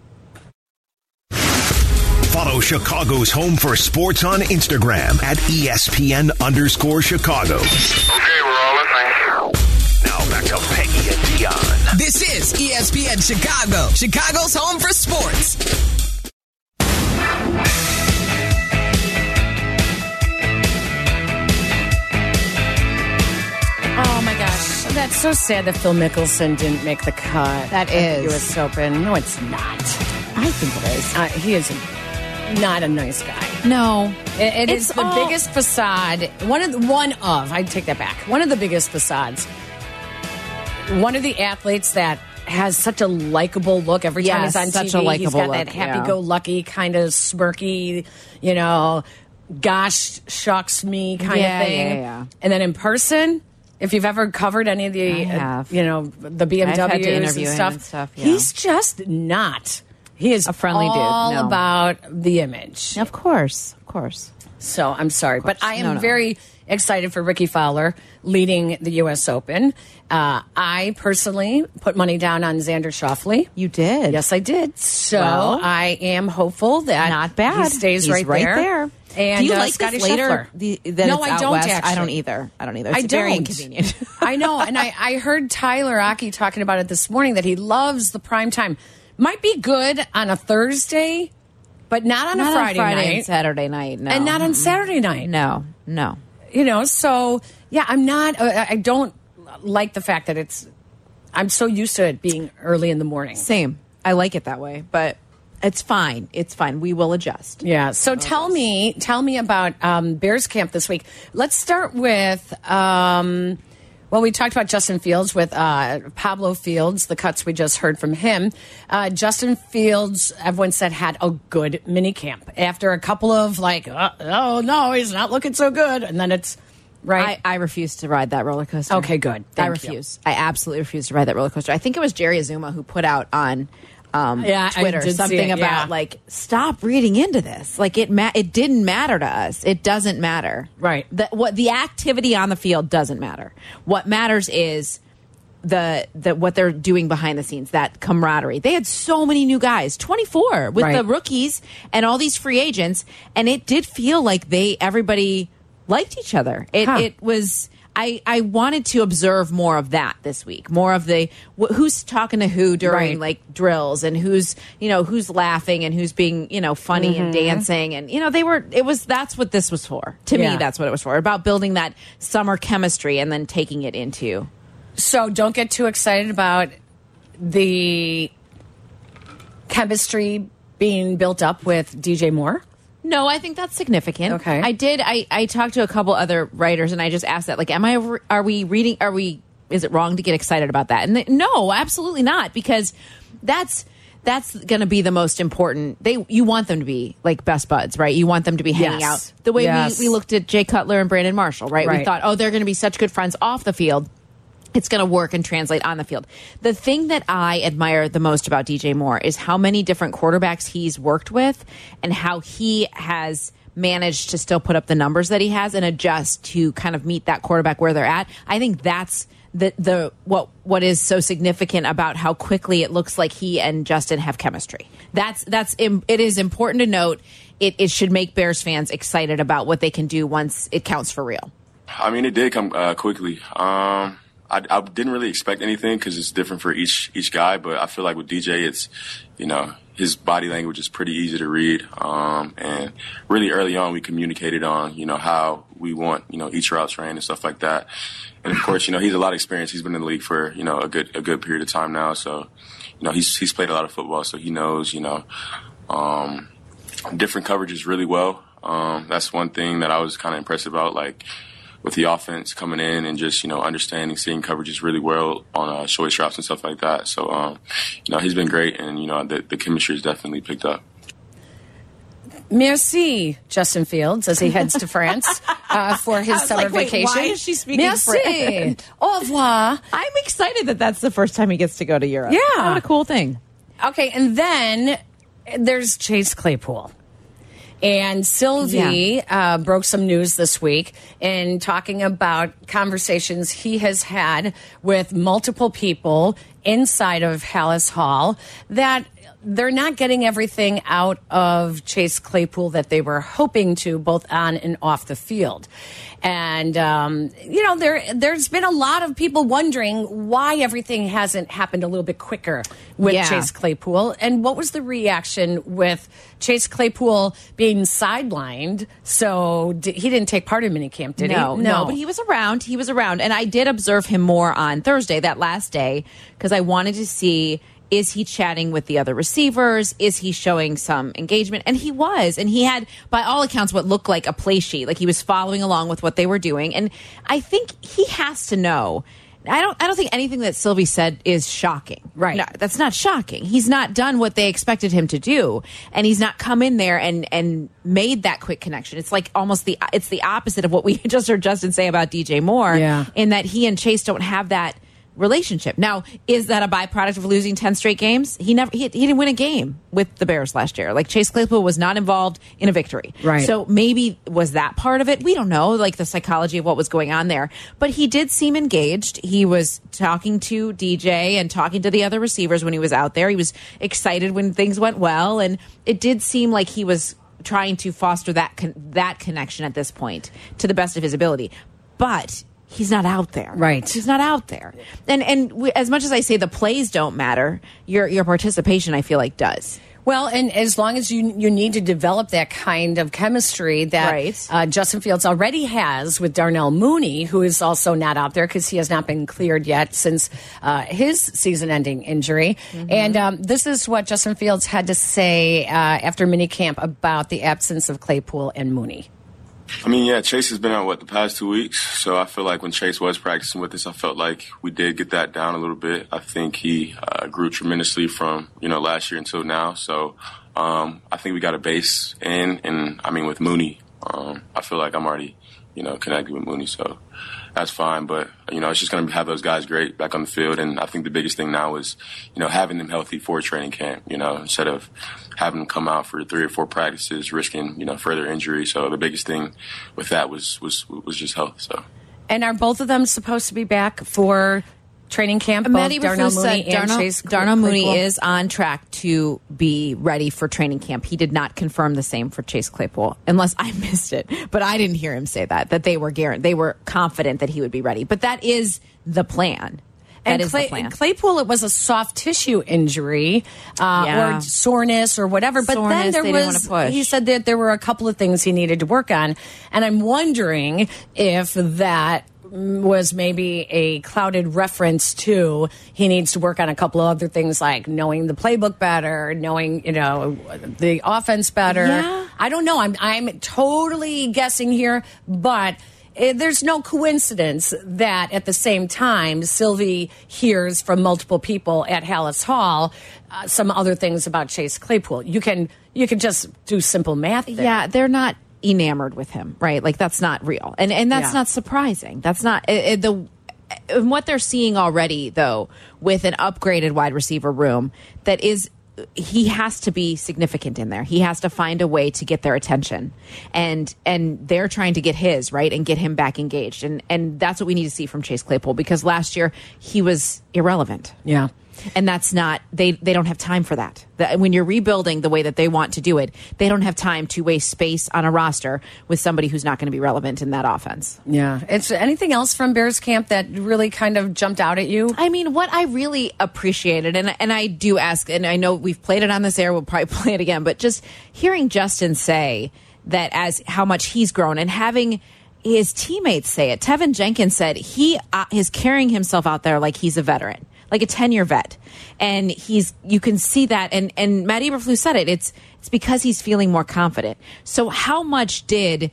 Speaker 1: Follow Chicago's home for sports on Instagram at E ESPN underscore Chicago.
Speaker 6: Okay, we're all listening.
Speaker 1: Now back to Peggy and Dion.
Speaker 7: This is E ESPN Chicago, Chicago's home for sports.
Speaker 3: Oh my gosh. That's so sad that Phil Mickelson didn't make the cut.
Speaker 2: That
Speaker 3: at the
Speaker 2: is.
Speaker 3: US Open. No, it's not.
Speaker 2: I think it is.
Speaker 3: Uh, he is not a nice guy.
Speaker 4: No,
Speaker 3: It, it
Speaker 4: It's
Speaker 3: is the
Speaker 4: all-
Speaker 3: biggest facade. One of the, one of I take that back. One of the biggest facades. One of the athletes that has such a likable look every time
Speaker 4: Yes,
Speaker 3: he's on
Speaker 4: such
Speaker 3: TV.
Speaker 4: a
Speaker 3: he's
Speaker 4: likable
Speaker 3: got that
Speaker 4: look, yeah.
Speaker 3: happy-go-lucky kind of smirky, you know, gosh shucks me kind
Speaker 4: Yeah,
Speaker 3: of thing.
Speaker 4: yeah, yeah.
Speaker 3: And then in person. If you've ever covered any of the, uh,
Speaker 4: have.
Speaker 3: you know, the
Speaker 4: had to
Speaker 3: BMWs
Speaker 4: interview
Speaker 3: and
Speaker 4: him
Speaker 3: stuff,
Speaker 4: and stuff, yeah.
Speaker 3: he's just not. He is
Speaker 4: A friendly dude,
Speaker 3: all
Speaker 4: no.
Speaker 3: about the image.
Speaker 4: of course, of course.
Speaker 3: So I'm sorry, but I am
Speaker 4: No, no.
Speaker 3: very excited for Ricky Fowler leading the U.S. Open. Uh, I personally put money down on Xander Shoffley.
Speaker 4: You did.
Speaker 3: Yes, I did. So
Speaker 4: Well,
Speaker 3: I am hopeful that
Speaker 4: Not bad.
Speaker 3: He stays
Speaker 4: He's
Speaker 3: right, there. And
Speaker 4: do you
Speaker 3: uh,
Speaker 4: like
Speaker 3: Scotty
Speaker 4: this later?
Speaker 3: Scheffler.
Speaker 4: The, that
Speaker 3: no,
Speaker 4: it's
Speaker 3: I
Speaker 4: out
Speaker 3: don't.
Speaker 4: west?
Speaker 3: Actually.
Speaker 4: I don't either. I don't either. It's
Speaker 3: I
Speaker 4: very
Speaker 3: don't.
Speaker 4: inconvenient.
Speaker 3: I know, and I, I heard Tyler Aki talking about it this morning that he loves the prime time. Might be good on a Thursday, but not on
Speaker 4: Not
Speaker 3: a Friday, night,
Speaker 4: and Saturday night. No,
Speaker 3: and not on Saturday night
Speaker 4: No, no.
Speaker 3: you know so yeah i'm not uh, i don't like the fact that it's i'm so used to it being early in the morning
Speaker 4: Same. I like it that way, but it's fine. It's fine. We will adjust.
Speaker 3: yeah so
Speaker 4: Oh,
Speaker 3: tell me tell me about um, bears camp this week let's start with um, well we talked about justin fields with uh, pablo fields the cuts we just heard from him uh, justin fields everyone said had a good mini camp after a couple of like uh, oh no he's not looking so good and then it's right
Speaker 4: I, I refuse to ride that roller coaster.
Speaker 3: Okay, good.
Speaker 4: I
Speaker 3: Thank you.
Speaker 4: refuse. I absolutely refuse to ride that roller coaster. I think it was Jerry Azuma who put out on um,
Speaker 3: Yeah, I
Speaker 4: Twitter
Speaker 3: did see
Speaker 4: something
Speaker 3: it,
Speaker 4: about
Speaker 3: yeah.
Speaker 4: like stop reading into this. Like it ma- it didn't matter to us. It doesn't matter.
Speaker 3: Right.
Speaker 4: The, what the activity on the field doesn't matter. What matters is the the what they're doing behind the scenes. That camaraderie. They had so many new guys, twenty four with
Speaker 3: Right.
Speaker 4: the rookies and all these free agents, and it did feel like they everybody liked each other. It
Speaker 3: Huh.
Speaker 4: it was I, I wanted to observe more of that this week, more of the wh who's talking to who during
Speaker 3: Right.
Speaker 4: like drills and who's you know who's laughing and who's being you know funny and
Speaker 3: Mm-hmm.
Speaker 4: dancing and you know they were it was that's what this was for to me
Speaker 3: Yeah.
Speaker 4: that's what it was for about building that summer chemistry and then taking it into
Speaker 3: So don't get too excited about the chemistry being built up with DJ Moore.
Speaker 4: No, I think that's significant.
Speaker 3: Okay.
Speaker 4: I did. I I talked to a couple other writers, and I just asked that, like, am I? Are we reading? Are we? Is it wrong to get excited about that? And they, no, absolutely not, because that's that's going to be the most important. They you want them to be like best buds, right? You want them to be hanging
Speaker 3: Yes.
Speaker 4: out the way
Speaker 3: Yes.
Speaker 4: we, we looked at Jay Cutler and Brandon Marshall, right? We
Speaker 3: Right.
Speaker 4: thought, oh, they're going to be such good friends off the field it's going to work and translate on the field. The thing that I admire the most about DJ Moore is how many different quarterbacks he's worked with and how he has managed to still put up the numbers that he has and adjust to kind of meet that quarterback where they're at. I think that's the the what what is so significant about how quickly it looks like he and Justin have chemistry. That's that's im it is important to note. It it should make Bears fans excited about what they can do once it counts for real.
Speaker 8: I mean, it did come uh, quickly. Um, I, I didn't really expect anything because it's different for each each guy. But I feel like with DJ, it's you know his body language is pretty easy to read. Um, and really early on, we communicated on you know how we want you know each route ran and stuff like that. And of course, you know he's a lot of experience. He's been in the league for you know a good a good period of time now. So you know he's he's played a lot of football, so he knows you know. Um, different coverages really well. Um, that's one thing that I was kind of impressed about, like with the offense coming in and just you know understanding, seeing coverages really well on uh, short straps and stuff like that. So um, you know he's been great, and you know the, the chemistry has definitely picked up.
Speaker 3: Merci, Justin Fields, as he heads to France uh, for his
Speaker 2: was
Speaker 3: summer
Speaker 2: like, wait, why
Speaker 3: vacation.
Speaker 2: is she speaking
Speaker 3: Merci.
Speaker 2: French?
Speaker 3: Au revoir.
Speaker 2: I'm excited that that's the first time he gets to go to Europe.
Speaker 3: Yeah.
Speaker 2: What a cool thing.
Speaker 3: Okay, and then there's Chase Claypool. And Sylvie uh, broke some news this week in talking about conversations he has had with multiple people inside of Hallis Hall that they're not getting everything out of Chase Claypool that they were hoping to, both on and off the field. And um, you know, there there's been a lot of people wondering why everything hasn't happened a little bit quicker with
Speaker 4: Yeah.
Speaker 3: Chase Claypool, and what was the reaction with Chase Claypool being sidelined? So di he didn't take part in minicamp, did
Speaker 4: no,
Speaker 3: he?
Speaker 4: No, but he was around. He was around, and I did observe him more on Thursday, that last day, because I wanted to see is he chatting with the other receivers? Is he showing some engagement? And he was, and he had, by all accounts, what looked like a play sheet. Like he was following along with what they were doing, and I think he has to know. I don't. I don't think anything that Sylvie said is shocking.
Speaker 3: Right.
Speaker 4: No, that's not shocking. He's not done what they expected him to do, and he's not come in there and and made that quick connection. It's like almost the it's the opposite of what we just heard Justin say about DJ Moore.
Speaker 3: Yeah.
Speaker 4: in that he and Chase don't have that relationship. Now, is that a byproduct of losing ten straight games? He never he, he didn't win a game with the Bears last year. Like Chase Claypool was not involved in a victory.
Speaker 3: Right.
Speaker 4: So maybe was that part of it? We don't know, like the psychology of what was going on there. But he did seem engaged. He was talking to DJ and talking to the other receivers when he was out there. He was excited when things went well, and it did seem like he was trying to foster that con that connection at this point to the best of his ability. But he's not out there,
Speaker 3: Right.
Speaker 4: He's not out there. And and we, as much as I say the plays don't matter, your your participation I feel like does.
Speaker 3: Well, and as long as you you need to develop that kind of chemistry that
Speaker 4: Right.
Speaker 3: uh, Justin Fields already has with Darnell Mooney, who is also not out there because he has not been cleared yet since uh, his season-ending injury.
Speaker 4: Mm-hmm.
Speaker 3: And um, this is what Justin Fields had to say uh, after minicamp about the absence of Claypool and Mooney.
Speaker 8: I mean, yeah, Chase has been out what the past two weeks, so I feel like when Chase was practicing with us, I felt like we did get that down a little bit. I think he uh, grew tremendously from you know last year until now, so um, I think we got a base in, and I mean with Mooney, um, I feel like I'm already you know connected with Mooney, so that's fine. But you know, it's just gonna have those guys great back on the field, and I think the biggest thing now is you know having them healthy for training camp. You know, instead of having them come out for three or four practices, risking you know further injury. So the biggest thing with that was was was just health. So.
Speaker 3: And are both of them supposed to be back for training camp?
Speaker 4: Matty
Speaker 3: both Darnell
Speaker 4: Raffoos
Speaker 3: Mooney
Speaker 4: said
Speaker 3: and
Speaker 4: uh, Darnell,
Speaker 3: Chase
Speaker 4: Darnell Mooney
Speaker 3: Claypool?
Speaker 4: is on track to be ready for training camp. He did not confirm the same for Chase Claypool, unless I missed it. But I didn't hear him say that that they were guaran- they were confident that he would be ready. But that is the plan. That
Speaker 3: and
Speaker 4: is
Speaker 3: Clay-
Speaker 4: the plan.
Speaker 3: Claypool, it was a soft tissue injury uh,
Speaker 4: Yeah.
Speaker 3: or soreness or whatever. But
Speaker 4: Soreness,
Speaker 3: then
Speaker 4: they
Speaker 3: there
Speaker 4: didn't
Speaker 3: was,
Speaker 4: wanna push.
Speaker 3: he said that there were a couple of things he needed to work on. And I'm wondering if that mm, was maybe a clouded reference to he needs to work on a couple of other things like knowing the playbook better, knowing, you know, the offense better.
Speaker 4: Yeah.
Speaker 3: I don't know. I'm I'm totally guessing here, but eh, there's no coincidence that at the same time Sylvie hears from multiple people at Hallis Hall uh, some other things about Chase Claypool. You can you can just do simple math. There.
Speaker 4: Yeah, they're not enamored with him, right? Like that's not real, and and that's
Speaker 3: Yeah.
Speaker 4: not surprising. That's not it, it- the and what they're seeing already though with an upgraded wide receiver room that is he has to be significant in there. He has to find a way to get their attention. And and they're trying to get his, right? And get him back engaged. And and that's what we need to see from Chase Claypool because last year he was irrelevant
Speaker 3: Yeah.
Speaker 4: and that's not they they don't have time for that. That- when you're rebuilding the way that they want to do it they don't have time to waste space on a roster with somebody who's not going to be relevant in that offense
Speaker 3: Yeah. It's anything else from Bears camp that really kind of jumped out at you?
Speaker 4: I mean, what I really appreciated, and and I do ask, and I know we've played it on this air, we'll probably play it again, but just hearing Justin say that as how much he's grown, and having his teammates say it. Tevin Jenkins said he uh, is carrying himself out there like he's a veteran, like a ten year vet, and he's you can see that, and and Matt Eberflus said it. It's it's because he's feeling more confident. So how much did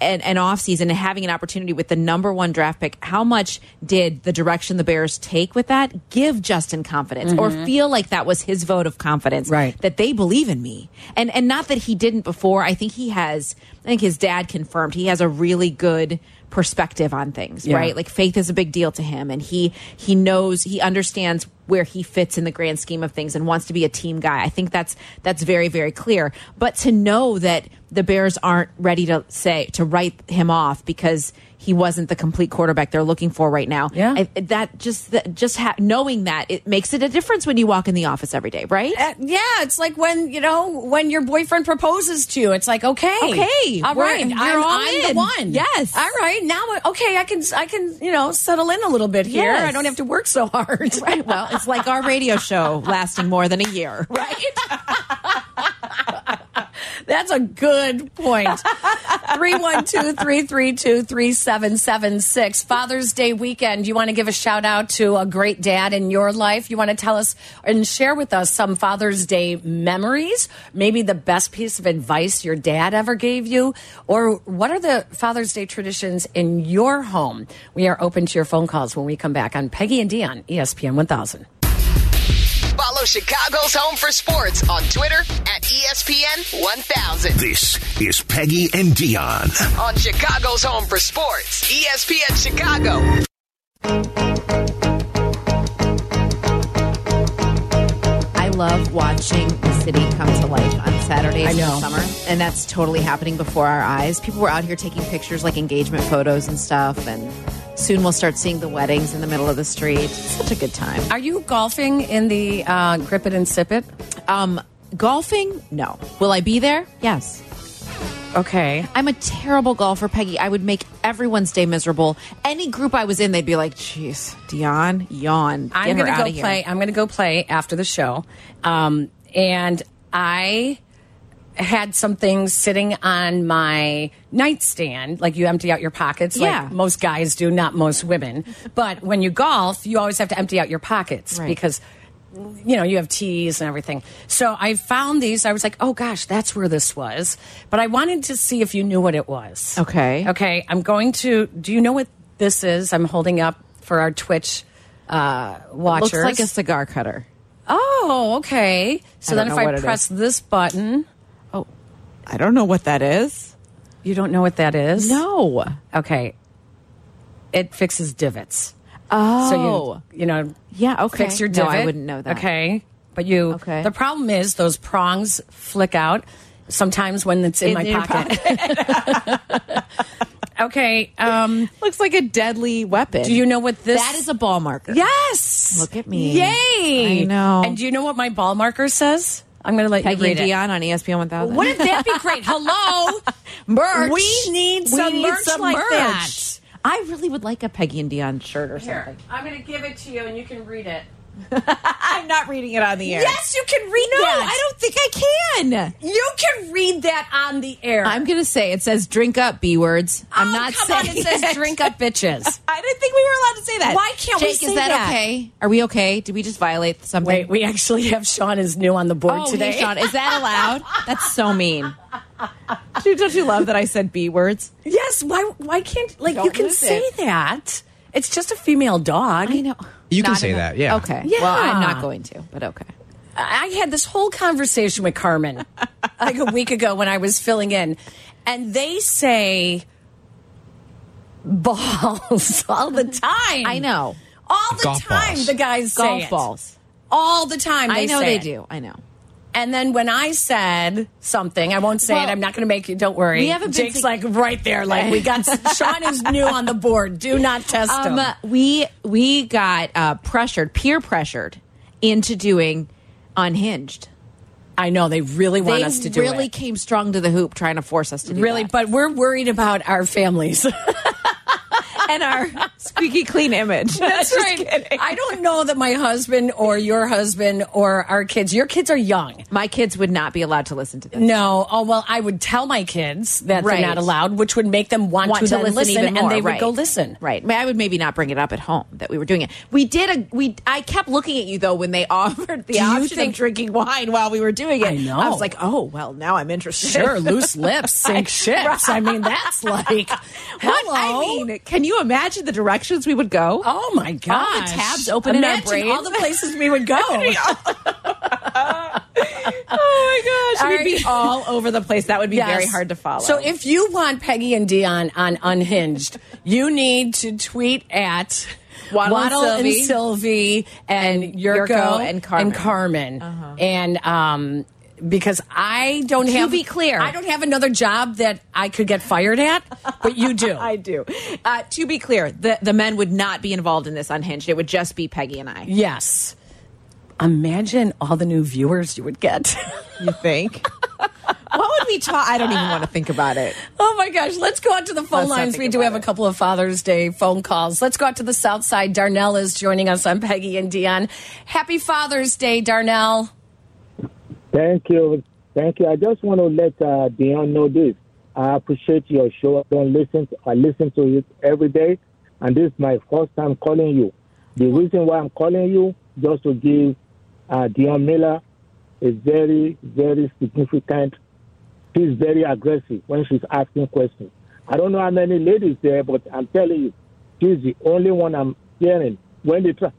Speaker 4: an, an off season and having an opportunity with the number one draft pick, how much did the direction the Bears take with that give Justin confidence or feel like that was his vote of confidence?
Speaker 3: Right.
Speaker 4: That they believe in me. And and not that he didn't before. I think he has I think his dad confirmed he has a really good perspective on things,
Speaker 3: Yeah.
Speaker 4: right? Like faith is a big deal to him and he he knows he understands where he fits in the grand scheme of things and wants to be a team guy. I think that's that's very very clear. But to know that the Bears aren't ready to say to write him off because he wasn't the complete quarterback they're looking for right now.
Speaker 3: Yeah.
Speaker 4: I, that just that just ha knowing that it makes it a difference when you walk in the office every day, right?
Speaker 3: Uh, yeah, it's like when you know when your boyfriend proposes to you. It's like okay,
Speaker 4: Okay,
Speaker 3: all
Speaker 4: we're-
Speaker 3: right,
Speaker 4: you're
Speaker 3: I'm,
Speaker 4: all
Speaker 3: I'm the
Speaker 4: in.
Speaker 3: one.
Speaker 4: Yes.
Speaker 3: all right. Now, okay, I can I can you know settle in a little bit here.
Speaker 4: Yes.
Speaker 3: I don't have to work so hard.
Speaker 4: Right. Well, it's like our radio show lasting more than a year.
Speaker 3: That's a good point. 312 332 3776. Father's Day weekend. You want to give a shout out to a great dad in your life? You want to tell us and share with us some Father's Day memories? Maybe the best piece of advice your dad ever gave you? Or what are the Father's Day traditions in your home? We are open to your phone calls when we come back on Peggy and Dion, E ESPN 1000.
Speaker 7: Follow Chicago's Home for Sports on Twitter at E ESPN 1000.
Speaker 1: This is Peggy and Dion.
Speaker 7: On Chicago's Home for Sports, E ESPN Chicago.
Speaker 4: I love watching the city come to life on Saturdays
Speaker 3: I
Speaker 4: in
Speaker 3: know.
Speaker 4: the summer, and that's totally happening before our eyes. People were out here taking pictures, like engagement photos and stuff, and soon we'll start seeing the weddings in the middle of the street. It's such a good time.
Speaker 3: Are you golfing in the uh, Grip It and Sip It?
Speaker 4: Um, golfing? No. Will I be there? Yes.
Speaker 3: Okay.
Speaker 4: I'm a terrible golfer, Peggy. I would make everyone's day miserable. Any group I was in, they'd be like, "Jeez, Dion, yawn." Get
Speaker 3: I'm
Speaker 4: her
Speaker 3: gonna
Speaker 4: out
Speaker 3: go
Speaker 4: of here."
Speaker 3: play. I'm gonna go play after the show, um, and I had some things sitting on my nightstand. Like you empty out your pockets,
Speaker 4: Yeah.
Speaker 3: like most guys do, not most women. but when you golf, you always have to empty out your pockets
Speaker 4: Right.
Speaker 3: because you know, you have teas and everything. So I found these. I was like, oh gosh, that's where this was. But I wanted to see if you knew what it was.
Speaker 4: Okay.
Speaker 3: Okay. I'm going to. Do you know what this is? I'm holding up for our Twitch uh, watchers.
Speaker 4: Looks like a cigar cutter.
Speaker 3: oh, okay. So
Speaker 4: I
Speaker 3: then
Speaker 4: don't
Speaker 3: if
Speaker 4: know what
Speaker 3: I
Speaker 4: it
Speaker 3: press this button,
Speaker 4: Oh, I don't know what that is.
Speaker 3: you don't know what that is?
Speaker 4: No.
Speaker 3: Okay. It fixes divots.
Speaker 4: Oh.
Speaker 3: So you, you know,
Speaker 4: Yeah, okay.
Speaker 3: fix your
Speaker 4: No,
Speaker 3: divot.
Speaker 4: I wouldn't know that.
Speaker 3: Okay, but you.
Speaker 4: Okay.
Speaker 3: The problem is those prongs flick out sometimes when it's in,
Speaker 4: In
Speaker 3: my
Speaker 4: your
Speaker 3: pocket. okay. Um,
Speaker 4: looks like a deadly weapon.
Speaker 3: do you know what this?
Speaker 4: that is a ball marker?
Speaker 3: yes.
Speaker 4: Look at me.
Speaker 3: Yay!
Speaker 4: I know.
Speaker 3: And do you know what my ball marker says? I'm going to let you
Speaker 4: Peggy
Speaker 3: read
Speaker 4: and
Speaker 3: it.
Speaker 4: Dion on E ESPN 1000.
Speaker 3: Wouldn't that be great? Hello,
Speaker 4: merch?
Speaker 3: We need some merch like that.
Speaker 4: I really would like a Peggy and Dion shirt or something.
Speaker 3: I'm going to give it to you, and you can read it.
Speaker 2: I'm not reading it on the air.
Speaker 3: Yes, you can read
Speaker 4: No,
Speaker 3: that.
Speaker 4: I don't think I can.
Speaker 3: You can read that on the air.
Speaker 4: I'm gonna say it says drink up b words. I'm
Speaker 3: Oh,
Speaker 4: not
Speaker 3: come
Speaker 4: saying
Speaker 3: on, it says drink up bitches.
Speaker 2: I didn't think we were allowed to say that.
Speaker 3: Why can't
Speaker 4: Jake,
Speaker 3: we say
Speaker 4: is that, okay? Are we okay? Did we just violate something?
Speaker 3: Wait, we actually have Sean is new on the board
Speaker 4: oh, hey,
Speaker 3: today.
Speaker 4: Sean, is that allowed? That's so mean.
Speaker 2: Dude, don't you love that I said B words?
Speaker 3: Yes, why why can't like you
Speaker 2: Don't
Speaker 3: can
Speaker 2: lose
Speaker 3: say
Speaker 2: it.
Speaker 3: that? It's just a female dog.
Speaker 4: I know.
Speaker 9: You can
Speaker 4: Not
Speaker 9: say
Speaker 4: in the-
Speaker 9: that, yeah.
Speaker 4: Okay.
Speaker 3: Yeah.
Speaker 4: Well, I'm not going to, but okay.
Speaker 3: I had this whole conversation with Carmen like a week ago when I was filling in, and they say balls all the time.
Speaker 4: I know.
Speaker 3: All the
Speaker 9: Golf
Speaker 3: time
Speaker 9: balls.
Speaker 3: the guys say
Speaker 4: Golf
Speaker 3: it.
Speaker 4: balls.
Speaker 3: All the time.
Speaker 4: I know
Speaker 3: say
Speaker 4: they
Speaker 3: it.
Speaker 4: do. I know.
Speaker 3: And then when I said something, I won't say
Speaker 4: Well,
Speaker 3: it. I'm not going to make you. Don't worry.
Speaker 4: we haven't been
Speaker 3: Jake's
Speaker 4: to-
Speaker 3: like right there. Like we got Sean is new on the board. Do not test him.
Speaker 4: Um, uh, we we got uh, pressured, peer pressured, into doing unhinged.
Speaker 3: I know they really want
Speaker 4: They
Speaker 3: us to do
Speaker 4: really
Speaker 3: it.
Speaker 4: came strong to the hoop, trying to force us to do
Speaker 3: Really,
Speaker 4: that.
Speaker 3: but we're worried about our families.
Speaker 2: and our squeaky clean image.
Speaker 3: That's
Speaker 2: Just
Speaker 3: right.
Speaker 2: kidding.
Speaker 3: I don't know that my husband or your husband or our kids, your kids are young.
Speaker 4: My kids would not be allowed to listen to this.
Speaker 3: No. Oh, well, I would tell my kids that
Speaker 4: Right.
Speaker 3: they're not allowed, which would make them want,
Speaker 4: want to,
Speaker 3: then
Speaker 4: listen, even more.
Speaker 3: and they would
Speaker 4: right.
Speaker 3: go listen.
Speaker 4: Right. I would maybe not bring it up at home that we were doing it. We did a we. I kept looking at you though when they offered the
Speaker 3: Do you
Speaker 4: option
Speaker 3: think-
Speaker 4: of drinking wine while we were doing it.
Speaker 3: I know.
Speaker 4: I was like, oh well, now I'm interested.
Speaker 3: Sure, loose lips, sink ships. I mean, that's like,
Speaker 4: What?
Speaker 3: hello.
Speaker 4: I
Speaker 2: I mean, can you imagine the directions we would go?
Speaker 3: Oh my god!
Speaker 4: All the tabs open in our
Speaker 3: Imagine
Speaker 4: brains.
Speaker 3: All the places we would go.
Speaker 2: Oh my gosh,
Speaker 3: All
Speaker 2: we'd
Speaker 3: right.
Speaker 2: be all over the place. That would be
Speaker 3: Yes.
Speaker 2: very hard to follow.
Speaker 3: So if you want Peggy and Dion on Unhinged, you need to tweet at
Speaker 4: Waddle and
Speaker 3: and
Speaker 4: Sylvie.
Speaker 3: Sylvie and, Yurko,
Speaker 4: Yurko and Carmen.
Speaker 3: and Carmen. And, um because I don't
Speaker 4: To
Speaker 3: have
Speaker 4: be clear.
Speaker 3: I don't have another job that I could get fired at, but you do.
Speaker 2: I do.
Speaker 4: Uh, to be clear, the the men would not be involved in this unhinged. It would just be Peggy and I.
Speaker 3: yes. Imagine all the new viewers you would get.
Speaker 2: You think? what would we talk? I don't even want to think about it.
Speaker 3: Oh my gosh, let's go out to the phone
Speaker 2: Let's not
Speaker 3: lines.
Speaker 2: think
Speaker 3: We do
Speaker 2: about
Speaker 3: have a
Speaker 2: it.
Speaker 3: couple of Father's Day phone calls. Let's go out to the South Side. Darnell is joining us. I'm Peggy and Dion. Happy Father's Day, Darnell.
Speaker 9: Thank you. Thank you. I just want to let uh, Dion know this. I appreciate your show. I don't listen. To, I listen to it every day, and this is my first time calling you. The reason why I'm calling you just to give uh, Dion Miller a very, very significant. She's very aggressive when she's asking questions. I don't know how many ladies there, but I'm telling you, she's the only one I'm hearing when they try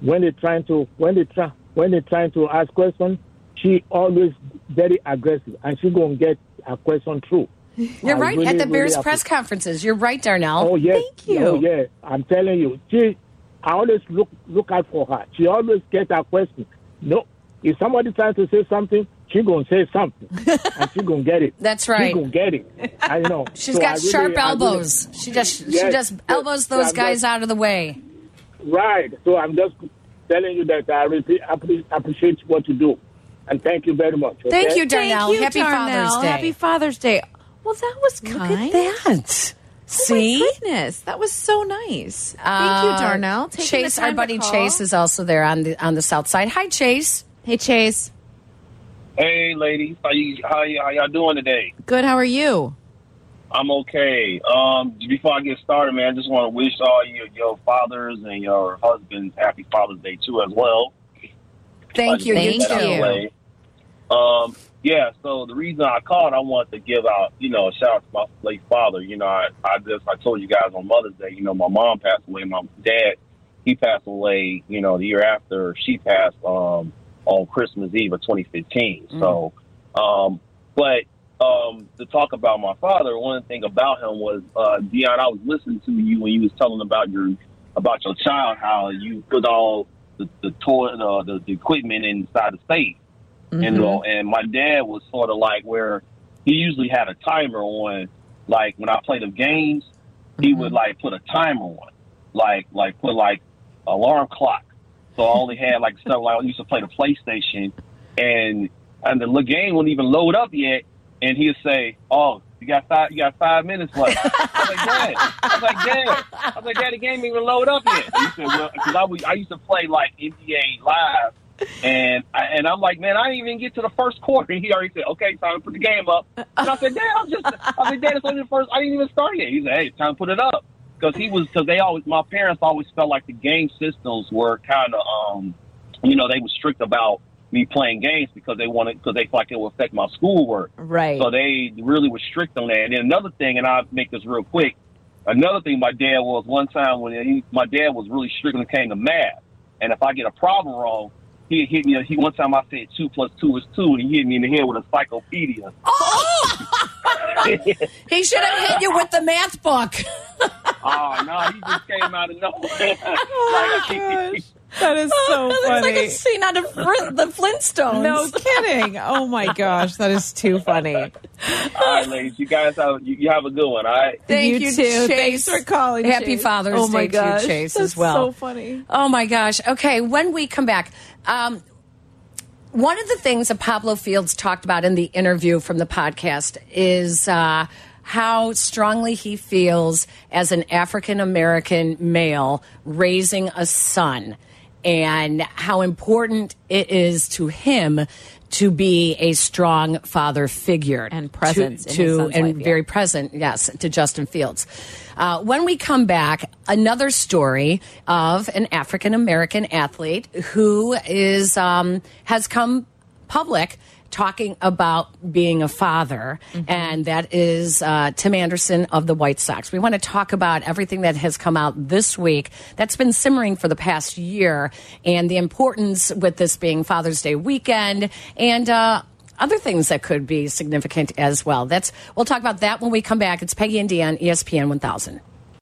Speaker 9: when they trying to when they try when they trying to ask questions, she always very aggressive and she gonna get a question through.
Speaker 3: You're
Speaker 9: I
Speaker 3: right
Speaker 9: really,
Speaker 3: at the
Speaker 9: really
Speaker 3: Bears
Speaker 9: appreciate-
Speaker 3: press conferences. You're right, Darnell.
Speaker 9: Oh yes,
Speaker 2: Thank you.
Speaker 9: Oh yeah, I'm telling you, she. I always look look out for her. She always get her question. No, if somebody tries to say something, she gonna say something, and she gonna get it.
Speaker 3: That's
Speaker 9: She
Speaker 3: right.
Speaker 9: gonna get it. I know.
Speaker 3: She's
Speaker 9: So I
Speaker 3: got
Speaker 9: really-
Speaker 3: sharp
Speaker 9: I really-
Speaker 3: elbows. she just she
Speaker 9: Yes.
Speaker 3: just
Speaker 9: So-
Speaker 3: elbows
Speaker 9: so
Speaker 3: those
Speaker 9: I'm
Speaker 3: guys
Speaker 9: just-
Speaker 3: out of the way.
Speaker 9: Right. So I'm just telling you that I really appre- appreciate what you do, and thank you very much.
Speaker 3: Thank
Speaker 9: okay?
Speaker 3: you, Darnell.
Speaker 4: Thank you,
Speaker 3: Happy
Speaker 4: Darnell.
Speaker 3: Father's Day.
Speaker 4: Happy Father's Day. Well, that was kind.
Speaker 2: Oh
Speaker 3: that. See?
Speaker 4: My goodness, that was so nice. Thank
Speaker 3: Uh,
Speaker 4: you, Darnell. Taking
Speaker 3: Chase,
Speaker 4: the time
Speaker 3: our
Speaker 4: to
Speaker 3: buddy
Speaker 4: call.
Speaker 3: Chase is also there on the on the South Side. Hi, Chase.
Speaker 4: Hey, Chase.
Speaker 10: Hey, ladies, how you how, y- how y'all doing today?
Speaker 4: Good. How are you?
Speaker 10: I'm okay. Um, before I get started, man, I just want to wish all your your fathers and your husbands happy Father's Day too, as well. I
Speaker 3: Thank
Speaker 10: just
Speaker 3: you.
Speaker 10: wanna
Speaker 4: Thank
Speaker 10: get that out of the
Speaker 4: you.
Speaker 10: way. Um, yeah. So the reason I called, I wanted to give out, you know, a shout out to my late father. You know, I, I just I told you guys on Mother's Day, you know, my mom passed away, my dad he passed away, you know, the year after she passed um, on Christmas Eve of 2015. So, um, but um, to talk about my father, one thing about him was, uh, Dion, I was listening to you when you was telling about your about your child, how you put all the the toy, uh, the, the equipment inside the safe, you know, and my dad was sort of like where he usually had a timer on, like when I played the games, he would like put a timer on, like like put like alarm clock. So I only had like stuff like I used to play the PlayStation, and and the little game wouldn't even load up yet, and he'd say, "Oh, you got five, you got five minutes left." I was like, "Dad," I was like, "Dad," I was like, "Dad, the game ain't even load up yet." He said, "Well, because I, was- I used to play like NBA Live." And I, and I'm like, man, I didn't even get to the first quarter. And he already said, okay, time to put the game up. And I said, Dad, I'm just, I said, Dad, it's only the first. I didn't even start yet. He said, hey, it's time to put it up because he was because they always my parents always felt like the game systems were kind of um you know they were strict about me playing games because they wanted because they felt like it would affect my schoolwork
Speaker 2: Right.
Speaker 10: so they really were strict on that and then another thing and i'll make this real quick another thing my dad was one time when he, my dad was really strict when it came to math and if i get a problem wrong he hit me he one time i said two plus two is two and he hit me in the head with a encyclopedia
Speaker 3: He should have hit you with the math book.
Speaker 10: oh no he just came out of nowhere
Speaker 2: Oh my gosh. That is so
Speaker 3: That's
Speaker 2: funny.
Speaker 3: like a scene out of Flint- the Flintstones.
Speaker 2: no kidding. Oh my gosh, that is too funny.
Speaker 10: All right, ladies, you guys have you, you have a good one. All right.
Speaker 3: Thank
Speaker 2: you
Speaker 3: you,
Speaker 2: too.
Speaker 3: Chase.
Speaker 2: Thanks for calling.
Speaker 3: Happy
Speaker 2: Chase.
Speaker 3: Father's
Speaker 2: Oh my
Speaker 3: Day
Speaker 2: gosh,
Speaker 3: to you, Chase,
Speaker 2: that's
Speaker 3: as well.
Speaker 2: so funny.
Speaker 3: Oh my gosh. Okay, when we come back, um, one of the things that Pablo Fields talked about in the interview from the podcast is uh, how strongly he feels as an African American male raising a son and how important it is to him to be a strong father figure and
Speaker 4: presence
Speaker 3: to,
Speaker 4: in his
Speaker 3: to-
Speaker 4: son's
Speaker 3: and
Speaker 4: life, yeah.
Speaker 3: very present yes to justin fields uh, when we come back another story of an african american athlete who is um, has come public talking about being a father and that is uh, tim anderson of the white sox we want to talk about everything that has come out this week that's been simmering for the past year and the importance with this being father's day weekend and uh, other things that E could be significant as well that's we'll talk about that when we come back it's peggy and dion espn 1000